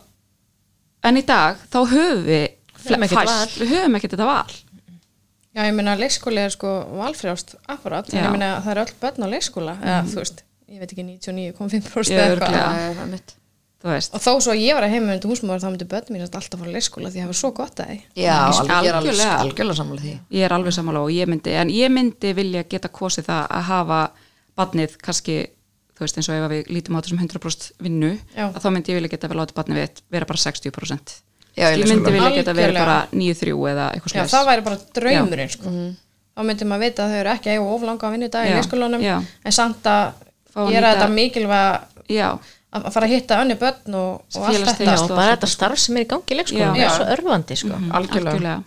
S4: en í dag þá höfum við
S2: Höfum ekkert
S4: fæst-
S2: val.
S4: við höfum ekkert þetta val
S1: Já, ég meina leikskóli er sko valfrjást akkurat, en
S4: Já.
S1: ég meina það er öll börn á leikskóla, eða þú veist, ég veit ekki 99,5%
S4: Já,
S1: eða
S4: örugglega.
S1: eitthvað.
S3: Já, já, það er mitt.
S4: þú veist
S1: Og þó svo að ég var að heima undir húsmaður þá myndi börn mín alltaf fara á leikskóla því að hafa svo gott að því.
S3: Já, alveg, ég er alveg,
S4: Algjörlega.
S3: algjörlega sammála því
S4: ég er alveg sammála og ég myndi en ég myndi vilja geta kosið það að hafa badnið kannski þú veist eins og ef að við lítum á þessum 100% vinnu
S1: Já.
S4: að þá myndi ég vilja geta vel átt badnið við vera bara 60%
S3: Já, ég
S4: ég
S3: leikskóla.
S4: myndi vilja geta verið
S1: Algjörlega.
S4: bara 9-3 eða eitthvað
S1: Já,
S4: slags
S1: það væri bara draumurinn, sko. Þá myndi maður vita að þau eru ekki að eiga of langa að vinna í dag í
S4: Mhm. Já,
S1: leikskólanum,
S4: já.
S1: en samt
S4: Fá að
S1: að gera
S4: nýta-
S1: þetta mikilvæg
S4: já,
S1: að að fara að hitta önni börn og, og allt
S4: Félagstengd.
S1: þetta.
S2: Já,
S4: Já,
S2: og bara þetta starf sem er í gangi í leikskólanum
S4: Já.
S2: er svo örfandi sko.
S4: Mm, algjörlega.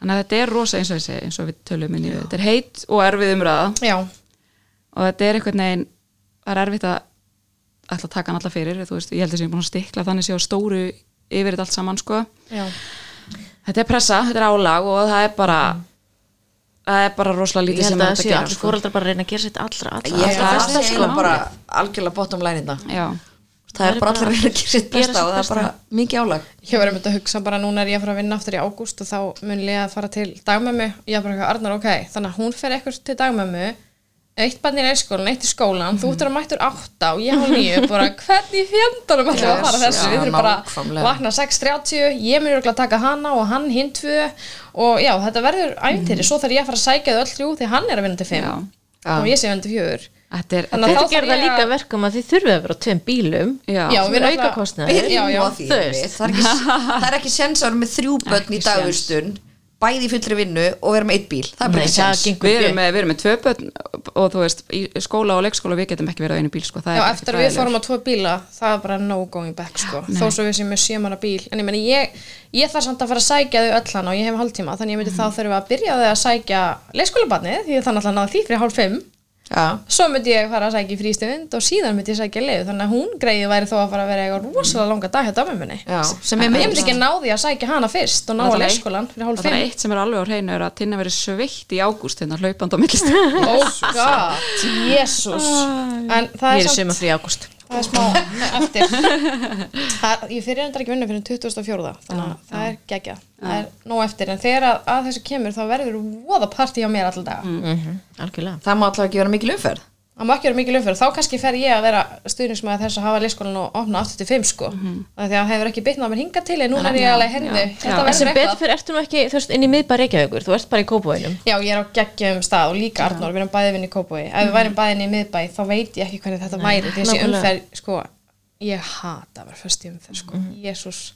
S4: þannig að þetta er rosa eins og ég segi eins og við tölum inn í þetta er heitt og erfið umræða
S1: Já,
S4: og þetta er einhvern veginn það er erfitt að ætla að taka hann alla fyrir þú veist, ég held að ég er búin að stikla þannig sé á stóru yfir þetta allt saman sko
S1: já,
S4: þetta er pressa, þetta er álag og það er bara það er bara rosalega
S2: ég
S4: lítið
S2: held
S4: sem
S2: að það
S4: er hægt
S2: séu
S4: að
S2: allir
S4: gera sko.
S2: fóreldrar bara að reyna að gera sitt allra, allra,
S3: Ég held
S2: allra
S3: að það sé
S4: það sé
S3: eiginlega
S4: málið.
S3: bara algjörlega bottom line þetta
S4: já,
S3: Það er bara allir að reyna að gera sitt
S2: gera
S3: besta
S2: sitt
S3: og það er
S2: besta.
S3: bara mikið álag
S1: ég var einmitt að hugsa bara núna er ég að fara að vinna aftur í ágúst og þá mun ég að fara til dagmömmu ég er bara eitthvað Arnar, ok, þannig að hún fer eitthvað til dagmömmu eitt barn í leikskólan, eitt í skólan þú ert að mættur átta og ég á nýju bara hvernig fjöndanum alltaf að fara
S3: Yes,
S1: þessu
S3: já,
S1: við þurfum bara að
S3: nákvæmlega.
S1: vakna 6.30 ég mun örugglega að taka hana og hann hinn tvö og já, þetta verður æfintýri svo þarf ég að fara að sækja þau öll þrjú því hann er að vinna til
S4: já.
S1: 5 og ég sé vinna til 4
S4: Þetta er,
S1: Þannig að
S2: Þetta
S4: þetta
S1: þá
S2: gerir
S1: þarf ég
S2: það líka
S1: að-
S2: verkum að þið þurfið að vera á tveim bílum
S4: er já,
S1: Já,
S2: sem
S1: við
S2: er
S1: náttúrulega-
S2: auka kostnaður
S1: Já, já.
S3: Og því,
S2: Þú veist.
S3: það er ekki, það er ekki sens að vera með þrjú börn í
S4: Ekki
S3: dagurstun bæði í fullri vinnu og vera með eitt bíl það er bara
S2: Nei,
S3: ekki
S2: það
S3: sens
S2: gengur
S4: við erum,
S2: ekki
S4: með, við erum með tvö börn og þú veist, í skóla og leikskóla við getum ekki verið á einu bíl sko, það
S1: Já,
S4: er
S1: eftir að við fórum á tvo bíla, það var bara no going back, sko. Þó svo við séum með sjömanna bíl. En ég meni, ég, ég þarf samt að fara að sækja þau öll hann og ég hef hálftíma, þannig ég myndi þá þurfum við að byrja á þau að sækja leikskólabarnið, því þannig að náða því fyrir hálf fimm.
S3: Já,
S1: Svo myndi ég fara að sækja í frístund og síðan myndi ég sækja leið, þannig að hún greiði væri þó að fara að vera eitthvað rosalega langa dag hjá dömuminni.
S3: já, sem
S1: Ég
S3: er
S1: myndi ekki ná því að sækja hana fyrst og ná að leikskólan fyrir hálf
S4: Það er
S1: fimm.
S4: eitt sem er alveg á hreinu er að tinna verið sveitt í ágúst hérna hlaupand á millist Ég
S1: Oh god, Jesus. En það er
S2: Ég er
S1: samt
S2: sem að frí ágúst
S1: það er smá eftir það, ég fyrir endar ekki vinna fyrir 2004 þannig að það er geggja það er nóg eftir en þegar að, að þessu kemur þá verður voða partí á mér alltaf daga
S2: Algjörlega
S3: Það má alltaf ekki vera mikil umferð
S1: það má ekki vera mikil umferð þá kannski fer ég að vera stuðningsmæður þess að hafa leikskólan og opna 85 sko mm -hmm. því að það hefur ekki bitnað mér hingað til en núna er ég alveg herði þetta
S2: En sem
S1: verður
S2: betur
S1: eitthvað
S2: fyrir ertu nú ekki, þú veist, inn í miðbæri Reykjavíkur, þú ert bara í Kópavænum.
S1: Já, ég er á geggjum stað og líka Arnór, við erum bæði vinn í Kópói. Ef við værum bæðin í miðbæ, þá veit ég ekki hvernig þetta væri. Þessi
S2: nákvæmlega.
S1: umferð, sko, ég hata að vera föst í umferð, sko. Jésús.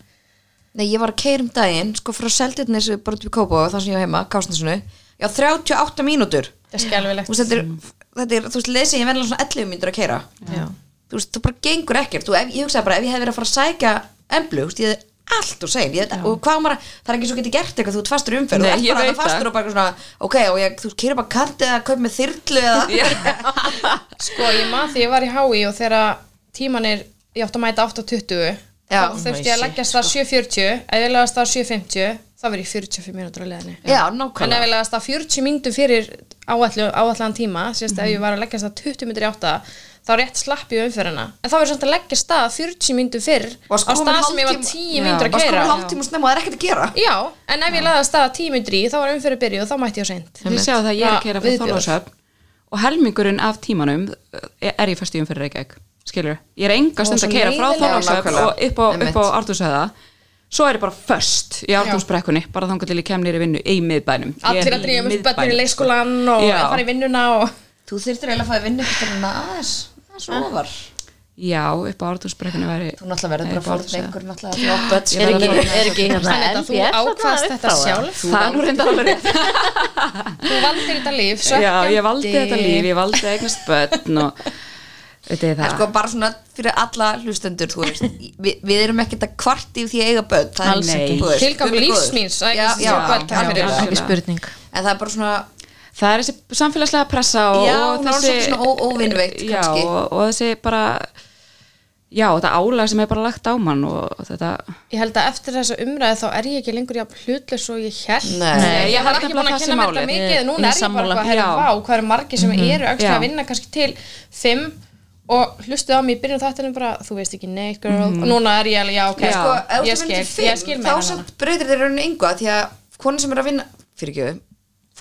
S3: Nei, ég var að keyra um daginn, sko frá Seldjarnesu bara upp í Kópóa, þar sem ég var heima, Kásnarsinu Já, 38 mínútur
S1: Það er
S3: Þú
S1: skelvilegt.
S3: veist, þetta er, þetta er, þú veist, lesi ég verðilega svona 11 mínútur að keyra
S2: Já.
S3: Þú veist, það bara gengur ekkert Þú, ef, Ég hugsaði bara, ef ég hefði verið að fara að sækja emblu, þú veist, ég hefði allt og sein ég, og hvað á maður, að- það er ekki svo getið gert eitthvað þú ert fastur í umferð,
S4: Nei,
S3: þú
S4: ég
S3: ert bara
S4: veit
S3: þarna fastur
S4: það.
S3: og bara eitthvað svona, ok, og ég, þú kýra bara kant eða kaup með þyrlu eða
S1: Sko, ég maður því ég var í HÍ og þegar tíman er, ég átti að mæta 8.20,
S3: Já.
S1: þá þurfti ég að leggja
S4: sko.
S1: stað 7.40, ef ég legast stað 7.50, þá verð ég 45 mínútur á leðinni.
S3: Já,
S1: En ef
S3: nákvæmlega
S1: ég legast stað 40 mínútur fyrir áallu, áallan tíma, sérst
S4: Mhm.
S1: ef ég var að leggja stað 20 mínútur í 8, þá rétt slapp ég umferðina. En þá verður samt að leggja stað 40 mínútur fyrr
S3: Og
S1: á
S3: sko komin
S1: stað sem ég var
S3: hálftíma-
S1: 10
S4: Já.
S1: mínútur
S3: Og
S1: að
S3: sko
S1: keira.
S3: hálftíma snemma, það er ekkert að gera
S1: Já, en ef ég legast stað 10 mínútur í, þá var umferði byrjuð og þá mætti ég á seint.
S4: Þið sjáu það að ég er að kera fyrir
S1: Viðbjóður.
S4: þólasöfn og helmingurinn af tímanum eh, er ég fyrst í umfyrir Reykjavík, skilur Ég er enga stund
S1: svo
S4: að kera frá
S1: leiðilega.
S4: þólasöfn
S3: Nákvæmlega.
S4: og upp á, upp á
S3: Einmitt.
S4: Artúshöða svo er ég bara först í Artúsbrekkunni bara þangar til ég kem nýri vinnu í miðbænum Ég
S1: Allir
S4: er
S1: að
S4: í
S1: drífa með bönnir í
S4: miðbænum, sko.
S1: leikskólan og
S4: Já.
S1: fara í vinnuna og...
S3: Þú þyrftir eiginlega að fá að vinna ykkur en aðeins, aðeins
S1: Ah.
S3: ofar
S4: Já, upp á Artúsbrekkunni væri
S3: Þú náttúrulega verður bara að fara
S4: væri
S3: með
S4: Arthúrsöða.
S3: einhver náttúrulega að börn
S2: Er ekki, er ekki hérna
S1: Þannig að þú
S2: LBS þarna
S1: ákvaðst
S2: upp
S1: þetta
S2: á það?
S1: sjálf
S4: Það er nú reyndar alveg rétt
S1: Þú valdir þetta líf
S4: Já,
S1: svekkjandi.
S4: ég valdi þetta líf, ég valdi að eignast börn og þetta er
S3: En
S4: það
S3: sko bara svona fyrir alla hlustendur þú veist, við, við erum ekkert að kvart yfir því að eiga börn það er-
S4: Alls ekki.
S3: þú veist,
S1: Tilgangur
S3: guð minn
S1: lífs
S3: góður.
S1: míns að
S3: já,
S1: eignast
S3: já,
S1: þessi börn,
S3: já,
S1: takk fyrir.
S3: já.
S2: Ekki spurning.
S3: En það er bara svona
S4: það er þessi samfélagslega pressa og,
S3: Já,
S4: og
S3: hún er
S4: þessi
S3: orðin svona ó- óvinveitt
S4: já,
S3: kannski.
S4: og, og þessi bara já, þetta álag sem er bara lagt á mann og, og þetta
S1: Ég held að eftir þessa umræðu þá er ég ekki lengur jafn hlutlaus og ég held
S3: Nei. Nei,
S1: Ég
S4: ég
S1: var
S4: held
S1: ekki
S4: nefnilega
S1: búin að kynna
S4: það sé
S1: mér þetta
S4: málið.
S1: mikið Núna
S2: Ég- ég
S1: er ég bara
S2: sammála.
S1: að herra
S4: Já. Mhm.
S1: vá hvað eru margir sem eru aukslega
S4: Já.
S1: að vinna kannski til fimm og hlustuð á mig í byrjun þáttinu bara þú veist ekki neitt girl og núna er ég alveg já ok
S4: Mhm. Já.
S3: sko, ef
S1: ég
S3: þú vinnur
S1: skil,
S3: til fimm,
S1: ég skil með
S3: þá
S1: hana
S3: samt breytir þér raunin yngu því að konu sem er að vinna fyrir ekki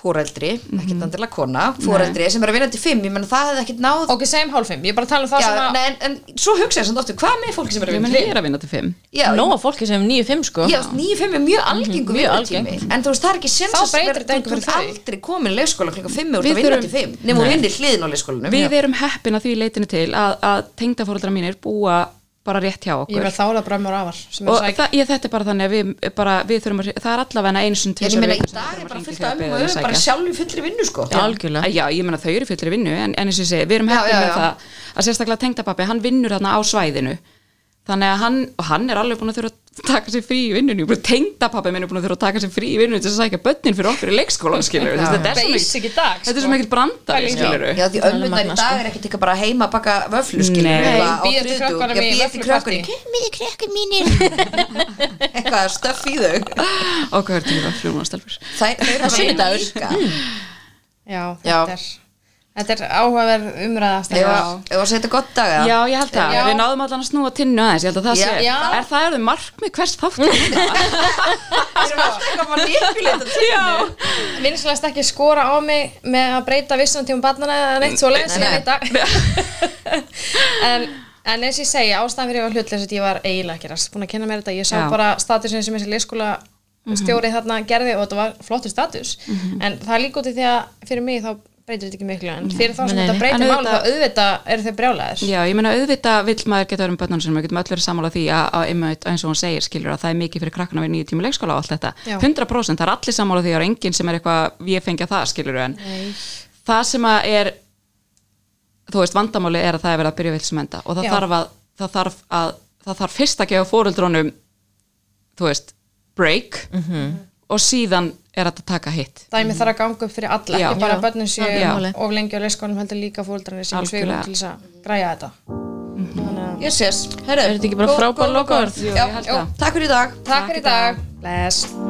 S3: fóreldri, ekkert andilega kona fóreldri sem er að vinna til fimm, ég menna það hefði ekkert náð
S1: Ok, segjum hálf fimm, ég er bara að tala um það
S3: já,
S1: sem að
S3: nei, en, en svo hugsa ég sem dóttu, hvað með fólki sem er að
S4: ég
S3: vinna
S4: meni
S3: til
S4: ég er að vinna til fimm
S3: já,
S2: Nó að fólki sem 9-5 sko.
S3: Já, nýju fimm er mjög algengu
S2: mjög
S3: vinnutími En þú veist, það er ekki sens
S1: Þá
S3: að
S1: breytir
S3: vera-
S1: þetta engu
S3: þú-
S1: fyrir
S3: Þú
S1: þau.
S3: ert aldrei komin í leikskóla klukka fimm og þú
S4: Við
S3: ert að vinna
S4: þurfum-
S3: til fimm Nefnum þú vinnir hliðin á leikskólanum
S4: við erum heppin að því leytinu til að, að tengdafóreldra mínir búa bara rétt hjá
S1: Ég
S4: okkur
S1: verð þá er það bara mjög afar sem er
S4: og
S1: sæk
S4: það, ég, þetta er bara þannig að við, bara, við þurfum að, það er allavega einu sinni
S3: Ég
S4: tvisvar
S3: meina,
S4: viku
S3: í
S4: sem
S3: dag
S4: við
S3: er
S4: þurfum að
S3: bara
S4: hringja
S3: fullt
S4: í
S3: af
S4: beðið
S3: ömmu og
S4: að
S3: öðum
S4: sækja.
S3: bara sjálf í fullri vinnu sko
S2: Algjörlega.
S4: Já, ég meina þau eru fyllir vinnu en, en eins og ég segi, við erum
S3: Já,
S4: hefðið
S3: já,
S4: með
S3: já.
S4: það að sérstaklega tengdapappi, hann vinnur þarna á svæðinu þannig að hann, og hann er alveg búin að þurfa að taka sér frí í vinnunni tengdapappi minn er búin að þurfa að taka sér frí í vinnunni til þess að sækja bönnin fyrir okkur í leikskóla skilur, þetta er svo
S1: Basic
S4: mikil
S1: í dag,
S4: þetta er
S1: sko.
S4: svo mikil brandar
S1: Pæling.
S4: skilur
S3: Já, því
S2: Það er alveg
S3: ömmunar í
S2: magnað,
S3: dag er ekkert eitthvað bara heima að baka vöflu skilur
S4: Nei.
S3: eitthvað á
S1: Bíða eftir
S3: þriðjudögum.
S1: krökkunum í
S3: Já, bíða eftir
S1: vöflupartí.
S3: krökkunum Eitthvað stöff í þau
S4: okkur er tíma frjónastelfur
S3: Það er Mm. bara vinna
S2: sunnudagur.
S3: líka
S1: Já,
S3: Já.
S1: þetta er Þetta er áhugaverð umræða
S3: Ef að- ef að setja gott dag eða?
S4: Já, ég held það,
S1: Já.
S4: við náðum allan að snúa tinnu aðeins, ég held að það
S3: Já.
S4: sé,
S1: Já.
S4: er það eru markmið hvers þátt?
S3: Við um erum alltaf eitthvað bara nýfjuleita
S4: Já,
S1: Vinslegast ekki skora á mig með að breyta vissunartíum barnana eða neitt svo leiðis
S3: Nei,
S1: ég
S3: nei.
S1: veit að en, en eins og ég segi, ástæðan fyrir ég var hlutlega að ég var eiginlega að gerast, búin að kenna mér þetta ég sá
S4: Já.
S1: bara statusin sem þessi leikskóla stjórið þarna gerði og þetta var flottur status en það er líka út í því að fyrir mig þá breytir þetta ekki miklu en fyrir þá sem
S2: Nei,
S1: þetta
S2: nei.
S1: breytir
S4: En
S1: máli þá
S4: auðvitað-
S1: auðvitað eru þau brjálæðir
S4: Já, ég meina auðvitað vill maður geta verið um börnunum sinum, við getum öll verið sammála því að, að einmitt, eins og hún segir skilur að það er mikið fyrir krakkana við nýju tíma leikskóla og allt þetta,
S1: Já.
S4: 100% það er allir sammála því að það er enginn sem er eitthvað ég fengja það skilur en það sem að er þú veist vandamáli er að það er verið að byrja vill sem enda og það
S1: Já.
S4: þarf að það þarf, að, það þarf fyrst að gefa fóruldrónum þú veist, break og síðan er þetta að taka hitt
S1: dæmi þarf að ganga upp fyrir alla,
S4: Já.
S1: ekki bara
S2: Já.
S1: börnin séu
S4: Já.
S1: of lengi á leikskólanum heldur líka fóldrarnir séu svigum
S4: Algjörlega.
S1: til þess að græja þetta Þannig að
S3: Ég sés, herru
S2: Er þetta ekki bara
S3: góð-
S2: frábær
S3: góð-
S2: lokaorð?
S3: góð-
S4: Jú,
S3: Já,
S4: ég held
S3: já,
S4: það.
S3: takk fyrir í dag
S1: Takk fyrir í dag. Bless.